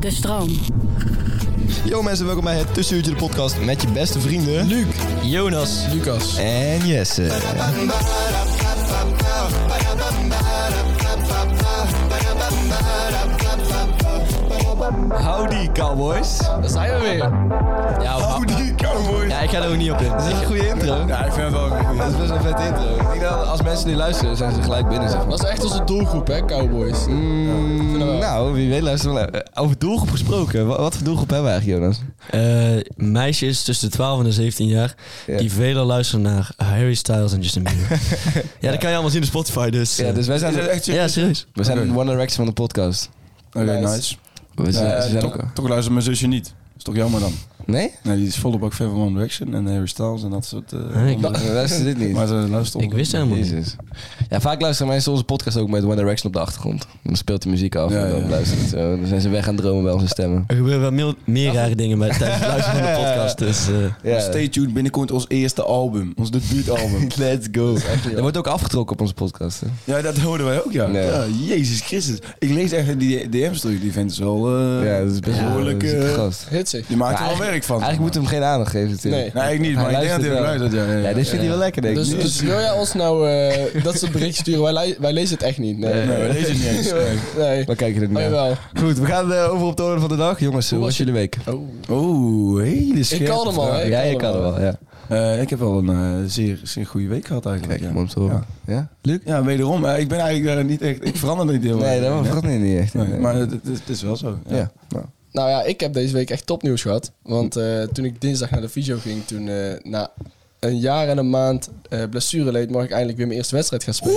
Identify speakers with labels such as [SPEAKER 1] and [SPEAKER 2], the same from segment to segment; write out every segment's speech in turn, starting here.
[SPEAKER 1] De stroom.
[SPEAKER 2] Yo mensen, welkom bij het Tussenuurtje de podcast met je beste vrienden... Luc, Jonas
[SPEAKER 3] Lucas.
[SPEAKER 2] en Jesse. Howdy cowboys.
[SPEAKER 3] Daar zijn we weer. Ja, wauw.
[SPEAKER 2] Howdy cowboys. Ja, ik ga er ook niet op in. Dat is een goede intro.
[SPEAKER 3] ja ik vind het wel een goeie.
[SPEAKER 2] Dat is best een vette intro. Ik denk dat als mensen die luisteren, zijn ze gelijk binnen zeg maar.
[SPEAKER 3] Dat is echt onze doelgroep, hè, Cowboys.
[SPEAKER 2] Mm, nou, wie weet luisteren we wel. Eh, Over doelgroep gesproken. Wa- Wat voor doelgroep hebben we eigenlijk, Jonas?
[SPEAKER 4] Eh, meisjes tussen de 12 en de 17 jaar
[SPEAKER 2] Ja.
[SPEAKER 4] die veler luisteren naar Harry Styles en Justin Bieber. ja, dat kan je allemaal zien op Spotify, dus.
[SPEAKER 2] Ja,
[SPEAKER 4] eh,
[SPEAKER 2] dus wij zijn,
[SPEAKER 4] ja, serieus.
[SPEAKER 2] we zijn een One Direction van de podcast.
[SPEAKER 3] Oké, nice.
[SPEAKER 2] We zijn,
[SPEAKER 3] Eh,
[SPEAKER 2] ze zijn
[SPEAKER 3] toch,
[SPEAKER 2] ook...
[SPEAKER 3] toch luistert mijn zusje niet. is toch jammer dan.
[SPEAKER 2] Nee?
[SPEAKER 3] Nee, die is volop ook fan van One Direction en Harry Styles en dat soort... eh,
[SPEAKER 4] Nee, ik-
[SPEAKER 3] andere-
[SPEAKER 2] We luisteren dit niet.
[SPEAKER 3] Maar ze luistert
[SPEAKER 4] Ik wist helemaal niet.
[SPEAKER 2] Jezus. Ja, vaak luisteren mensen onze podcast ook met One Direction op de achtergrond. Dan speelt de muziek af
[SPEAKER 3] Ja,
[SPEAKER 2] en dan
[SPEAKER 3] ja.
[SPEAKER 2] luisteren ze zo. Dan zijn ze weg aan het dromen bij onze stemmen.
[SPEAKER 4] Er gebeuren wel meel- meer rare dingen bij, tijdens het luisteren van de podcast, dus. eh,
[SPEAKER 2] Ja.
[SPEAKER 3] Stay tuned, binnenkort ons eerste album. Ons debuutalbum.
[SPEAKER 2] Let's go. Er wordt ook afgetrokken op onze podcast. Hè?
[SPEAKER 3] ja, dat hoorden wij ook, ja.
[SPEAKER 2] Nee.
[SPEAKER 3] ja Jezus Christus. Ik lees echt die DM's terug. Die vindt ze wel... eh,
[SPEAKER 2] Ja, dat is best wel
[SPEAKER 3] behoorlijk,
[SPEAKER 2] een zieke
[SPEAKER 3] eh,
[SPEAKER 2] gast.
[SPEAKER 5] Hitsig.
[SPEAKER 3] Die maakt er wel
[SPEAKER 2] eigenlijk-
[SPEAKER 3] werk van.
[SPEAKER 2] Eigenlijk moeten we hem geen aandacht geven natuurlijk.
[SPEAKER 5] Nee.
[SPEAKER 3] Nee, ik niet,
[SPEAKER 2] Hij
[SPEAKER 3] maar ik denk
[SPEAKER 2] luistert
[SPEAKER 3] dat hij wel
[SPEAKER 2] wel.
[SPEAKER 3] luistert. Ja, ja, ja.
[SPEAKER 2] Ja, dit vindt hij wel lekker denk ik.
[SPEAKER 5] Dus,
[SPEAKER 2] Nee.
[SPEAKER 5] dus wil jij ons nou eh, dat soort berichten sturen? Wij, li- wij lezen het echt niet. Nee,
[SPEAKER 3] Nee, we lezen het niet eens. Nee.
[SPEAKER 5] Nee.
[SPEAKER 2] we kijken er niet
[SPEAKER 5] Oh,
[SPEAKER 2] naar.
[SPEAKER 5] jawel.
[SPEAKER 2] Goed, we gaan eh, over op de orde van de dag. Jongens, hoe was jullie week?
[SPEAKER 3] Oeh, Oh. hele
[SPEAKER 5] Ik kan hem al, hè?
[SPEAKER 2] ja, je kan er wel. Ja.
[SPEAKER 3] Eh, ik heb wel een eh, zeer, zeer goede week gehad eigenlijk.
[SPEAKER 2] Kijk,
[SPEAKER 3] ja.
[SPEAKER 2] mond te horen.
[SPEAKER 3] Ja.
[SPEAKER 2] Ja? Luc?
[SPEAKER 3] Ja, wederom. eh, ik ben eigenlijk eh, niet echt... Ik verander niet heel
[SPEAKER 2] Nee,
[SPEAKER 3] erg,
[SPEAKER 2] dat
[SPEAKER 3] hè.
[SPEAKER 2] vergat niet niet echt.
[SPEAKER 3] Nee,
[SPEAKER 2] Nee.
[SPEAKER 3] Maar het, het is- het is wel zo. Ja.
[SPEAKER 2] Ja. Nou.
[SPEAKER 5] Nou ja, ik heb deze week echt topnieuws gehad. Want eh, toen ik dinsdag naar de fysio ging, toen eh, na een jaar en een maand eh blessure leed, mag ik eindelijk weer mijn eerste wedstrijd gaan spelen.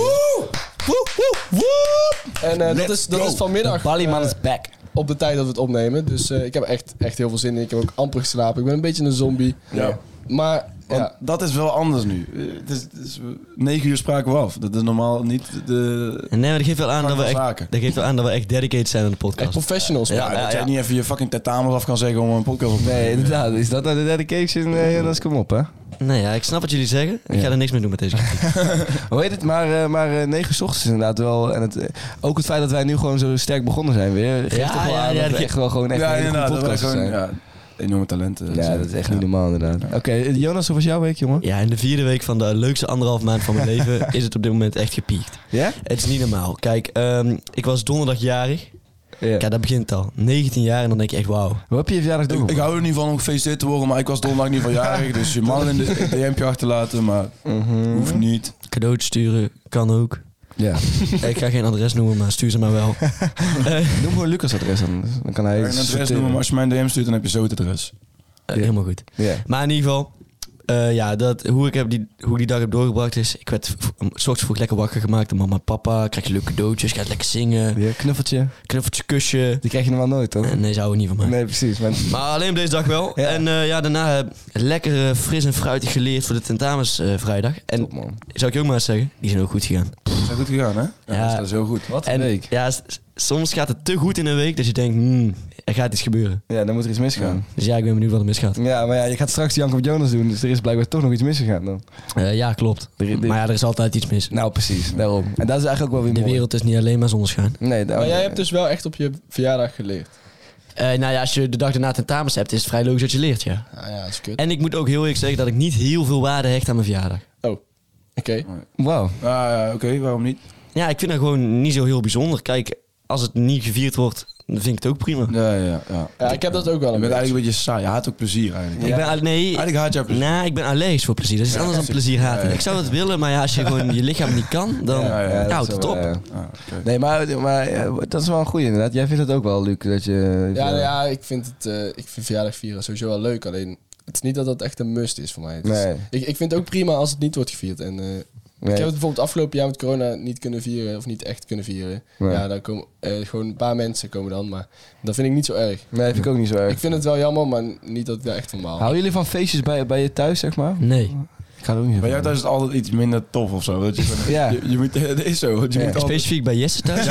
[SPEAKER 5] En eh, dat,
[SPEAKER 3] Let's
[SPEAKER 5] is, dat
[SPEAKER 3] go.
[SPEAKER 5] is vanmiddag.
[SPEAKER 2] Ballyman
[SPEAKER 5] eh,
[SPEAKER 2] is back.
[SPEAKER 5] op de tijd dat we het opnemen. Dus eh, ik heb echt, echt heel veel zin in. Ik heb ook amper geslapen. Ik ben een beetje een zombie.
[SPEAKER 3] Ja.
[SPEAKER 5] Maar
[SPEAKER 3] Want
[SPEAKER 5] ja,
[SPEAKER 3] dat is wel anders nu. Eh, Het is, het is, negen uur spraken we af. Dat is normaal niet de...
[SPEAKER 4] en nee, maar dat geeft wel aan
[SPEAKER 3] Gang
[SPEAKER 4] dat we
[SPEAKER 3] van
[SPEAKER 4] echt,
[SPEAKER 3] zaken.
[SPEAKER 4] dat geeft wel aan dat we echt dedicated zijn aan de
[SPEAKER 5] echt
[SPEAKER 4] podcast.
[SPEAKER 5] professionals.
[SPEAKER 3] Ja,
[SPEAKER 5] man.
[SPEAKER 3] dat
[SPEAKER 4] ja,
[SPEAKER 3] jij
[SPEAKER 4] ja.
[SPEAKER 3] niet even je fucking tentamens af kan zeggen om een podcast op te
[SPEAKER 2] Nee, inderdaad. Is dat nou de dedication? Eh, Jonas, kom op hè.
[SPEAKER 4] Nou ja, ik snap wat jullie zeggen. Ik
[SPEAKER 2] Ja.
[SPEAKER 4] ga er niks mee doen met deze kritiek.
[SPEAKER 2] Hoe heet het? Maar, eh, maar eh, negen uur 's ochtends inderdaad wel. En het, eh, ook het feit dat wij nu gewoon zo sterk begonnen zijn weer. Geeft
[SPEAKER 4] Ja,
[SPEAKER 2] toch wel
[SPEAKER 4] ja,
[SPEAKER 2] aan
[SPEAKER 4] ja,
[SPEAKER 2] dat
[SPEAKER 4] dat
[SPEAKER 2] we
[SPEAKER 4] ge-
[SPEAKER 2] echt wel gewoon echt
[SPEAKER 3] Ja,
[SPEAKER 2] een hele goede
[SPEAKER 3] inderdaad. Dat wij
[SPEAKER 2] podcast
[SPEAKER 3] gewoon
[SPEAKER 2] zijn.
[SPEAKER 3] ja, enorme talenten. eh,
[SPEAKER 2] Ja,
[SPEAKER 3] zijn.
[SPEAKER 2] dat is echt niet normaal inderdaad. Oké, eh, Jonas, hoe was jouw week, jongen?
[SPEAKER 4] Ja, in de vierde week van de leukste anderhalf maand van mijn leven is het op dit moment echt gepiekt.
[SPEAKER 2] Ja?
[SPEAKER 4] Het is niet normaal. Kijk, ehm, ik was donderdag jarig.
[SPEAKER 2] Ja.
[SPEAKER 4] Kijk, dat begint al. 19 jaar en dan denk je echt, wauw.
[SPEAKER 2] Hoe heb je je verjaardag
[SPEAKER 3] Ik, ik
[SPEAKER 2] doorgebracht?
[SPEAKER 3] hou er niet van om gefeliciteerd te worden, maar ik was donderdag niet van jarig. Dus je mag in de DM'tje achterlaten, maar hoeft niet.
[SPEAKER 4] Cadeautjes sturen kan ook.
[SPEAKER 2] Ja.
[SPEAKER 4] ik ga geen adres noemen, maar stuur ze maar wel.
[SPEAKER 2] Noem gewoon Lucas adres dan. dus Dan kan hij
[SPEAKER 3] Ik kan een adres noemen, maar als je mijn DM stuurt, dan heb je zo het adres.
[SPEAKER 4] Eh, helemaal goed.
[SPEAKER 2] Ja.
[SPEAKER 4] Maar in ieder geval, eh, ja, dat, hoe, ik heb die, hoe ik die dag heb doorgebracht is... Ik werd v- om- 's ochtends vroeg lekker wakker gemaakt door mama en papa. Krijg je leuke cadeautjes, gaat lekker zingen.
[SPEAKER 2] Ja, knuffeltje.
[SPEAKER 4] Knuffeltje, kusje.
[SPEAKER 2] Die krijg je normaal nooit, toch?
[SPEAKER 4] Eh, Nee, ze houden niet van mij.
[SPEAKER 2] Nee, precies. Maar...
[SPEAKER 4] Maar alleen op deze dag wel.
[SPEAKER 2] Ja.
[SPEAKER 4] En eh, ja, daarna eh, lekker eh, fris en fruitig geleerd voor de tentamens eh, vrijdag. En
[SPEAKER 2] Top, man.
[SPEAKER 4] zou ik je ook maar eens zeggen, die zijn ook goed gegaan.
[SPEAKER 3] Is dat goed gegaan, hè? Ja,
[SPEAKER 4] Ja.
[SPEAKER 3] Dus dat is heel goed. Wat?
[SPEAKER 4] en
[SPEAKER 2] week.
[SPEAKER 4] ja, s- s- soms gaat het te goed in een week dat je denkt, hmm, er gaat iets gebeuren.
[SPEAKER 2] Ja, dan moet er iets misgaan.
[SPEAKER 4] Dus ja, ik ben benieuwd wat er misgaat.
[SPEAKER 2] Ja, maar ja, je gaat straks Jank op Jonas doen, dus er is blijkbaar toch nog iets misgegaan dan.
[SPEAKER 4] Eh, ja, klopt.
[SPEAKER 2] Er- er-
[SPEAKER 4] Maar ja, er is altijd iets mis.
[SPEAKER 2] Nou, precies. Daarom. En dat is eigenlijk ook wel weer
[SPEAKER 4] De
[SPEAKER 2] mooi.
[SPEAKER 4] wereld is niet alleen maar zonneschijn.
[SPEAKER 2] Nee, daar-
[SPEAKER 5] Maar jij hebt dus wel echt op je verjaardag geleerd.
[SPEAKER 4] Eh, nou ja, als je de dag daarna tentamens hebt, is het vrij logisch dat je leert, ja.
[SPEAKER 5] Ah ja, dat is kut.
[SPEAKER 4] En ik moet ook heel eerlijk zeggen dat ik niet heel veel waarde hecht aan mijn verjaardag.
[SPEAKER 5] Oh, oké.
[SPEAKER 2] Wauw.
[SPEAKER 3] Ah, ja, oké, waarom niet?
[SPEAKER 4] Ja, ik vind dat gewoon niet zo heel bijzonder. Kijk, als het niet gevierd wordt, dan vind ik het ook prima.
[SPEAKER 3] Ja, ja, ja.
[SPEAKER 5] Ja, ik heb dat ook wel
[SPEAKER 3] Je bent
[SPEAKER 5] een beetje.
[SPEAKER 3] eigenlijk een beetje saai. Je haat ook plezier eigenlijk.
[SPEAKER 4] Ik ben, al- nee,
[SPEAKER 3] Eigenlijk haat jij plezier.
[SPEAKER 4] Nou, ik ben allergisch voor plezier. Dat is iets anders dan plezier haten.
[SPEAKER 3] Ah, Ja, ja.
[SPEAKER 4] Ik zou het willen, maar ja, als je gewoon je lichaam niet kan, dan Nou,
[SPEAKER 3] Ja, ja, ja, dat
[SPEAKER 4] houdt het op.
[SPEAKER 3] Ah, oké.
[SPEAKER 2] Nee, maar, maar eh, dat is wel een goeie inderdaad. Jij vindt het ook wel, Luc, dat je...
[SPEAKER 5] Ja, nou ja, ik vind het, eh, ik vind verjaardag vieren sowieso wel leuk. Alleen, het is niet dat dat echt een must is voor mij. Het is-
[SPEAKER 2] Nee.
[SPEAKER 5] ik, ik vind het ook prima als het niet wordt gevierd. En eh,
[SPEAKER 2] Nee.
[SPEAKER 5] ik heb het bijvoorbeeld afgelopen jaar met corona niet kunnen vieren of niet echt kunnen vieren.
[SPEAKER 2] Nee.
[SPEAKER 5] Ja, dan komen eh, gewoon een paar mensen komen dan, maar dat vind ik niet zo erg.
[SPEAKER 2] Nee, vind ik ook niet zo
[SPEAKER 5] Ik
[SPEAKER 2] erg.
[SPEAKER 5] vind het wel jammer, maar niet dat ik daar echt van baal.
[SPEAKER 2] Houden jullie van feestjes bij, bij je thuis, zeg maar?
[SPEAKER 4] Nee.
[SPEAKER 2] Ik ga er ook niet
[SPEAKER 3] Bij
[SPEAKER 2] van.
[SPEAKER 3] jou thuis is het altijd iets minder tof of zo. Dat je, gewoon-
[SPEAKER 2] Ja.
[SPEAKER 3] je, je moet, dat is zo. want Je
[SPEAKER 2] Ja.
[SPEAKER 3] moet altijd-
[SPEAKER 4] Specifiek bij Jesse thuis.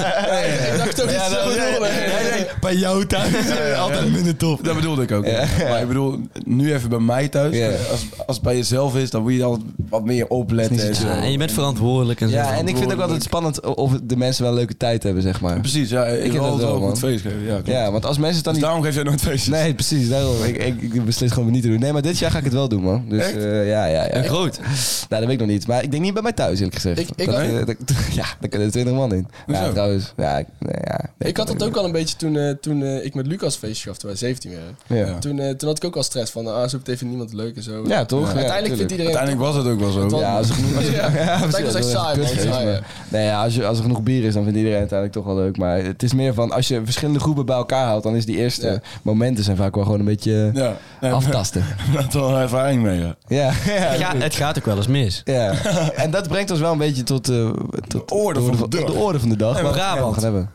[SPEAKER 5] Ik dacht ook niet zo bedoelen.
[SPEAKER 4] Bij jou thuis. Altijd minder tof.
[SPEAKER 3] Dat bedoelde ik ook. Maar ik bedoel, nu even bij mij thuis.
[SPEAKER 2] Ja.
[SPEAKER 3] Als, als het bij jezelf is, dan moet je altijd wat meer opletten. en zo.
[SPEAKER 4] Ja, Dus, eh, en je bent verantwoordelijk en zo.
[SPEAKER 2] Ja, en ik vind ook altijd spannend of de mensen wel een leuke tijd hebben, zeg maar.
[SPEAKER 3] Precies, ja. Ik
[SPEAKER 2] heb
[SPEAKER 3] wil
[SPEAKER 2] dat
[SPEAKER 3] altijd
[SPEAKER 2] wel,
[SPEAKER 3] wel een goed
[SPEAKER 2] man.
[SPEAKER 3] feest geven. Ja, klopt.
[SPEAKER 2] Ja, want als mensen het dan niet...
[SPEAKER 3] Dus daarom geef jij nooit feestjes.
[SPEAKER 2] Nee, precies, daarom. Ik, ik, ik beslis gewoon niet te doen. Nee, maar dit jaar ga ik het wel doen, man. Dus
[SPEAKER 3] Echt?
[SPEAKER 2] eh, ja, ja, ja.
[SPEAKER 4] Groot.
[SPEAKER 2] Nou, dat weet ik nog niet. Maar ik denk niet bij mij thuis, eerlijk gezegd.
[SPEAKER 5] Ik- ik-
[SPEAKER 2] dat,
[SPEAKER 5] Nee?
[SPEAKER 2] eh, dat- ja, daar kunnen er 20 man in.
[SPEAKER 3] Hoezo?
[SPEAKER 2] Ja, trouwens. Ja, ik, nee, ja, nee,
[SPEAKER 5] Ik had dat ook wel een beetje toen, eh, toen eh, ik met Lucas feestje gaf, toen wij 17 waren.
[SPEAKER 2] Ja,
[SPEAKER 5] Toen, eh, toen had ik ook al stress van, ah, zo betekent niemand het leuk en zo.
[SPEAKER 2] ja toch? Ja,
[SPEAKER 5] Uiteindelijk
[SPEAKER 2] tuurlijk.
[SPEAKER 5] vindt iedereen...
[SPEAKER 3] Uiteindelijk was het ook wel zo.
[SPEAKER 5] Het was-
[SPEAKER 2] Ja, als er genoeg...
[SPEAKER 5] Ja.
[SPEAKER 2] precies,
[SPEAKER 5] was echt
[SPEAKER 2] dat is
[SPEAKER 5] saai,
[SPEAKER 2] een
[SPEAKER 5] man.
[SPEAKER 2] kutfeest,
[SPEAKER 5] Saai,
[SPEAKER 2] maar-
[SPEAKER 5] ja.
[SPEAKER 2] Nee, ja, als, je, als er genoeg bier is, dan vindt iedereen het uiteindelijk toch wel leuk. Maar het is meer van, als je verschillende groepen bij elkaar haalt, dan is die eerste
[SPEAKER 5] Ja.
[SPEAKER 2] momenten zijn vaak wel gewoon een beetje eh,
[SPEAKER 3] Ja. Nee,
[SPEAKER 2] aftasten.
[SPEAKER 3] Daar had wel een ervaring mee, ja.
[SPEAKER 2] Ja, ja,
[SPEAKER 4] Ja, het gaat ook wel eens mis.
[SPEAKER 2] ja. En dat brengt ons wel een beetje tot, eh, tot
[SPEAKER 3] De orde van de dag.
[SPEAKER 2] de orde van de dag.
[SPEAKER 3] En
[SPEAKER 2] Wat we
[SPEAKER 4] Brabant.
[SPEAKER 2] gaan hebben.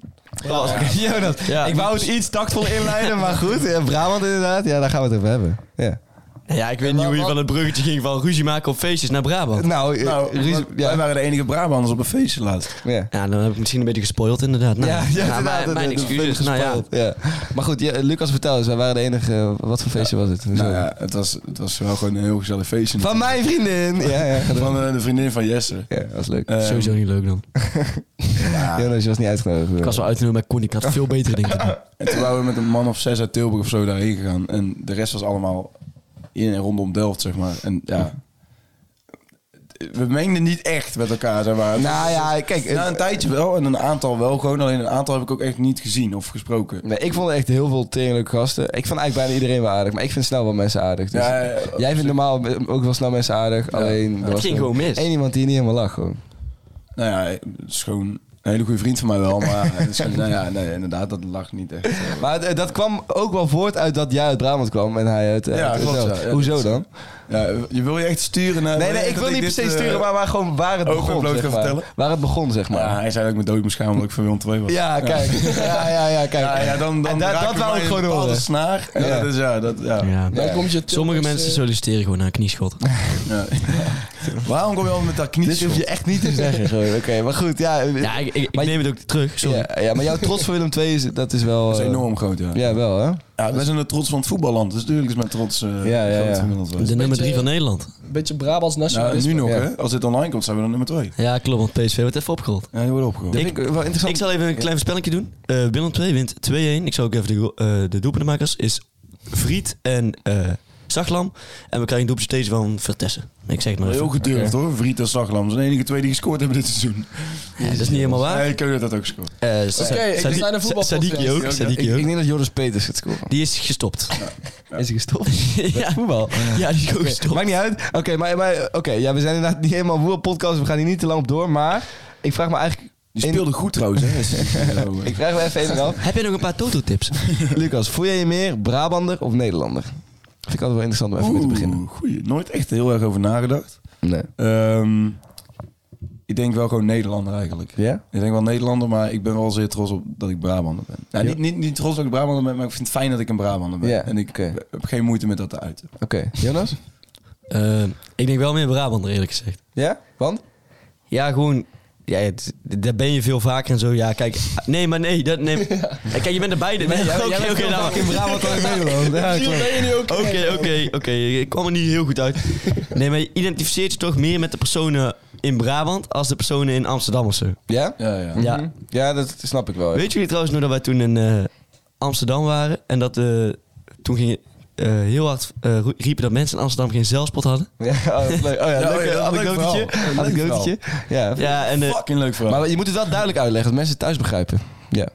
[SPEAKER 4] Jonas. Ja.
[SPEAKER 2] Ik wou het iets tactvol inleiden, maar goed. Ja, Brabant inderdaad. Ja, daar gaan we het over hebben. Ja.
[SPEAKER 4] ja, ik weet niet hoe je van het bruggetje ging van ruzie maken op feestjes naar Brabant.
[SPEAKER 2] Nou, eh,
[SPEAKER 3] Nou,
[SPEAKER 2] ruzie-
[SPEAKER 3] wij-
[SPEAKER 2] ja.
[SPEAKER 3] wij waren de enige Brabanders op een feestje laatst.
[SPEAKER 2] Ja.
[SPEAKER 4] Ja, dan heb ik misschien een beetje gespoild inderdaad. Nou,
[SPEAKER 2] Ja, ja, inderdaad,
[SPEAKER 4] mijn,
[SPEAKER 2] dat-
[SPEAKER 4] mijn
[SPEAKER 2] dat- dat
[SPEAKER 4] excuses. Nou ja,
[SPEAKER 2] Ja. Maar goed, ja, Lucas, vertel eens. Wij waren de enige... eh, Wat voor feestje was het?
[SPEAKER 3] Nou
[SPEAKER 2] Zo.
[SPEAKER 3] ja, het was, het was wel gewoon een heel gezellig feestje.
[SPEAKER 2] Van mijn vriendin! Ja, ja.
[SPEAKER 3] Van eh, de vriendin van Jesse.
[SPEAKER 2] Ja, dat was leuk.
[SPEAKER 3] Eh, nou.
[SPEAKER 4] sowieso niet leuk dan.
[SPEAKER 2] Jonas, je was niet uitgenodigd.
[SPEAKER 4] Ik was wel uitgenodigd bij Connie. Ik had veel betere dingen te doen.
[SPEAKER 3] En toen waren we met een man of zes uit Tilburg of zo daarheen gegaan. En de rest was allemaal in en rondom Delft, zeg maar. En ja... We mengden niet echt met elkaar, zeg maar.
[SPEAKER 2] Nou ja, kijk... eh,
[SPEAKER 3] Na een tijdje wel en een aantal wel gewoon. Alleen een aantal heb ik ook echt niet gezien of gesproken.
[SPEAKER 2] Nee, ik vond echt heel veel teringlijke gasten. Ik vond eigenlijk bijna iedereen wel aardig. Maar ik vind snel wel mensen aardig. Dus
[SPEAKER 3] Ja, ja, ja.
[SPEAKER 2] jij vindt normaal ook wel snel mensen aardig. Alleen... er was
[SPEAKER 4] ging
[SPEAKER 2] nog
[SPEAKER 4] gewoon mis.
[SPEAKER 2] één iemand die niet helemaal lag, gewoon.
[SPEAKER 3] Nou ja, het is gewoon een hele goede vriend van mij wel. Maar het is gewoon- nou ja, nee, inderdaad, dat lag niet echt. eh,
[SPEAKER 2] Maar eh, dat kwam ook wel voort uit dat jij uit Brabant kwam en hij uit... eh,
[SPEAKER 3] Ja,
[SPEAKER 2] uit
[SPEAKER 3] klopt,
[SPEAKER 2] Delft.
[SPEAKER 3] ja. Ja,
[SPEAKER 2] Hoezo
[SPEAKER 3] dat-
[SPEAKER 2] dan?
[SPEAKER 3] Ja, je wil je echt sturen naar...
[SPEAKER 2] Nee, nee,
[SPEAKER 3] dat
[SPEAKER 2] ik wil niet per
[SPEAKER 3] dit,
[SPEAKER 2] se
[SPEAKER 3] eh,
[SPEAKER 2] sturen, maar, maar gewoon waar het
[SPEAKER 3] open
[SPEAKER 2] begon,
[SPEAKER 3] bloot
[SPEAKER 2] zeg
[SPEAKER 3] gaan
[SPEAKER 2] maar.
[SPEAKER 3] vertellen?
[SPEAKER 2] Waar het begon, zeg
[SPEAKER 3] Maar
[SPEAKER 2] maar.
[SPEAKER 3] hij zei dat ik me dood moest schamen omdat ik van Willem 2 was.
[SPEAKER 2] Ja, kijk. Ja, ja, ja, kijk.
[SPEAKER 3] Ja, ja, dan, dan
[SPEAKER 2] En da-
[SPEAKER 3] raak
[SPEAKER 2] dat
[SPEAKER 3] ik
[SPEAKER 2] wou
[SPEAKER 3] mij
[SPEAKER 2] ik
[SPEAKER 3] een
[SPEAKER 2] gewoon
[SPEAKER 3] bepaalde
[SPEAKER 2] horen.
[SPEAKER 3] snaar. En
[SPEAKER 2] Ja.
[SPEAKER 3] dat is, ja, dat, ja.
[SPEAKER 4] Ja.
[SPEAKER 5] Dan kom je eh,
[SPEAKER 4] Sommige
[SPEAKER 5] Tilburgse-
[SPEAKER 4] mensen solliciteren gewoon naar een knieschot.
[SPEAKER 3] Ja. Waarom kom je al met dat
[SPEAKER 2] Dit hoef
[SPEAKER 3] knietje?
[SPEAKER 2] je echt niet te zeggen, gewoon. Oké, maar goed, ja.
[SPEAKER 4] Ja, ik, ik, ik
[SPEAKER 2] Maar-
[SPEAKER 4] neem het ook terug. Sorry.
[SPEAKER 2] ja, ja, maar jouw trots voor Willem II, is, dat is wel...
[SPEAKER 3] Dat is
[SPEAKER 2] eh,
[SPEAKER 3] enorm groot, ja.
[SPEAKER 2] Ja, wel, hè?
[SPEAKER 3] Ja, wij zijn de trots van het voetballand. Dus natuurlijk is mijn trots eh
[SPEAKER 2] Ja, ja,
[SPEAKER 3] groot
[SPEAKER 2] ja.
[SPEAKER 3] inmiddels wel.
[SPEAKER 4] De nummer drie
[SPEAKER 5] beetje- eh,
[SPEAKER 4] van Nederland.
[SPEAKER 5] Een beetje Brabants
[SPEAKER 3] Nou,
[SPEAKER 5] nationalisme.
[SPEAKER 3] nu nog,
[SPEAKER 2] Ja.
[SPEAKER 3] hè. Als dit online komt, zijn we dan nummer 2.
[SPEAKER 4] Ja, klopt, want PSV wordt even opgerold.
[SPEAKER 3] Ja, die worden opgehoord.
[SPEAKER 2] Dat
[SPEAKER 4] Ik-
[SPEAKER 2] vind ik wel interessant.
[SPEAKER 4] Ik zal even een klein voorspellingje doen. Eh Willem 2 wint 2-1. Ik zal ook even de, go- eh de doelpuntenmakers. Is Vriet en eh Zaglam. En we krijgen een doelpuntje deze van Vertessen. Ik zeg het maar even.
[SPEAKER 3] Heel gedurfd hoor, Vriet en Zaglam. Zijn de enige twee die gescoord hebben dit seizoen.
[SPEAKER 4] Ja, dat is niet helemaal waar.
[SPEAKER 3] Nee, Keulen had ook gescoord.
[SPEAKER 4] Eh
[SPEAKER 5] Oké, ik ben bijna voetbalpodcast.
[SPEAKER 4] Sadiki ook.
[SPEAKER 2] ik,
[SPEAKER 4] Sadiki
[SPEAKER 2] ik
[SPEAKER 4] ook.
[SPEAKER 2] denk dat Joris Peters gaat scoren.
[SPEAKER 4] Die is gestopt.
[SPEAKER 2] Is hij gestopt?
[SPEAKER 4] ja, voetbal. Ja, die is ook
[SPEAKER 2] Oké,
[SPEAKER 4] gestopt.
[SPEAKER 2] Maakt niet uit. Oké, maar, maar oké, ja, we zijn inderdaad niet helemaal woer podcast. We gaan hier niet te lang op door. Maar ik vraag me eigenlijk...
[SPEAKER 3] Die
[SPEAKER 2] één-
[SPEAKER 3] speelde goed trouwens, hè. Dus-
[SPEAKER 2] Ik vraag me even één af.
[SPEAKER 4] Heb je nog een paar Toto-tips?
[SPEAKER 2] Lucas, voel jij je meer Brabander of Nederlander? Vind ik altijd wel interessant om even mee te beginnen.
[SPEAKER 3] Oeh, goeie. Nooit echt heel erg over nagedacht.
[SPEAKER 2] Nee.
[SPEAKER 3] Ehm, ik denk wel gewoon Nederlander eigenlijk.
[SPEAKER 2] Ja?
[SPEAKER 3] Ik denk wel Nederlander, maar ik ben wel zeer trots op dat ik Brabander ben. Nou,
[SPEAKER 2] Ja.
[SPEAKER 3] niet, niet, niet trots dat ik Brabander ben, maar ik vind het fijn dat ik een Brabander ben.
[SPEAKER 2] Ja,
[SPEAKER 3] En ik
[SPEAKER 2] oké.
[SPEAKER 3] heb geen moeite met dat te uiten.
[SPEAKER 2] Oké. Jonas?
[SPEAKER 4] Eh, ik denk wel meer Brabander, eerlijk gezegd.
[SPEAKER 2] Ja? Want?
[SPEAKER 4] Ja, gewoon. Ja, het- daar ben je veel vaker en zo. Ja, kijk. Nee, maar nee. Dat, nee. Kijk, je bent er beide. Nee, Oké, oké, nou.
[SPEAKER 2] Brabant dan in Nederland. Ja, klopt.
[SPEAKER 4] Oké, oké, oké. Ik kwam er niet heel goed uit. Nee, maar je identificeert je toch meer met de personen in Brabant als de personen in Amsterdam of zo.
[SPEAKER 2] Ja?
[SPEAKER 3] Ja, ja.
[SPEAKER 4] Ja.
[SPEAKER 2] Mhm. Ja, dat snap ik wel.
[SPEAKER 4] Weet jullie trouwens nog dat wij toen in eh, Amsterdam waren en dat eh, toen ging je, eh, heel hard eh, ro- riepen dat mensen in Amsterdam geen zelfspot hadden.
[SPEAKER 2] Ja, oh, dat is leuk. Oh ja,
[SPEAKER 3] Ja, oh ja, dat
[SPEAKER 2] leuk
[SPEAKER 3] is een
[SPEAKER 2] eh,
[SPEAKER 3] leuk
[SPEAKER 2] anekdotetje.
[SPEAKER 3] verhaal. Een leuk
[SPEAKER 2] Anekdotetje. Ja.
[SPEAKER 4] Ja, en eh,
[SPEAKER 3] Fucking leuk verhaal.
[SPEAKER 2] Maar je moet het wel duidelijk uitleggen, dat mensen het thuis begrijpen. Ja.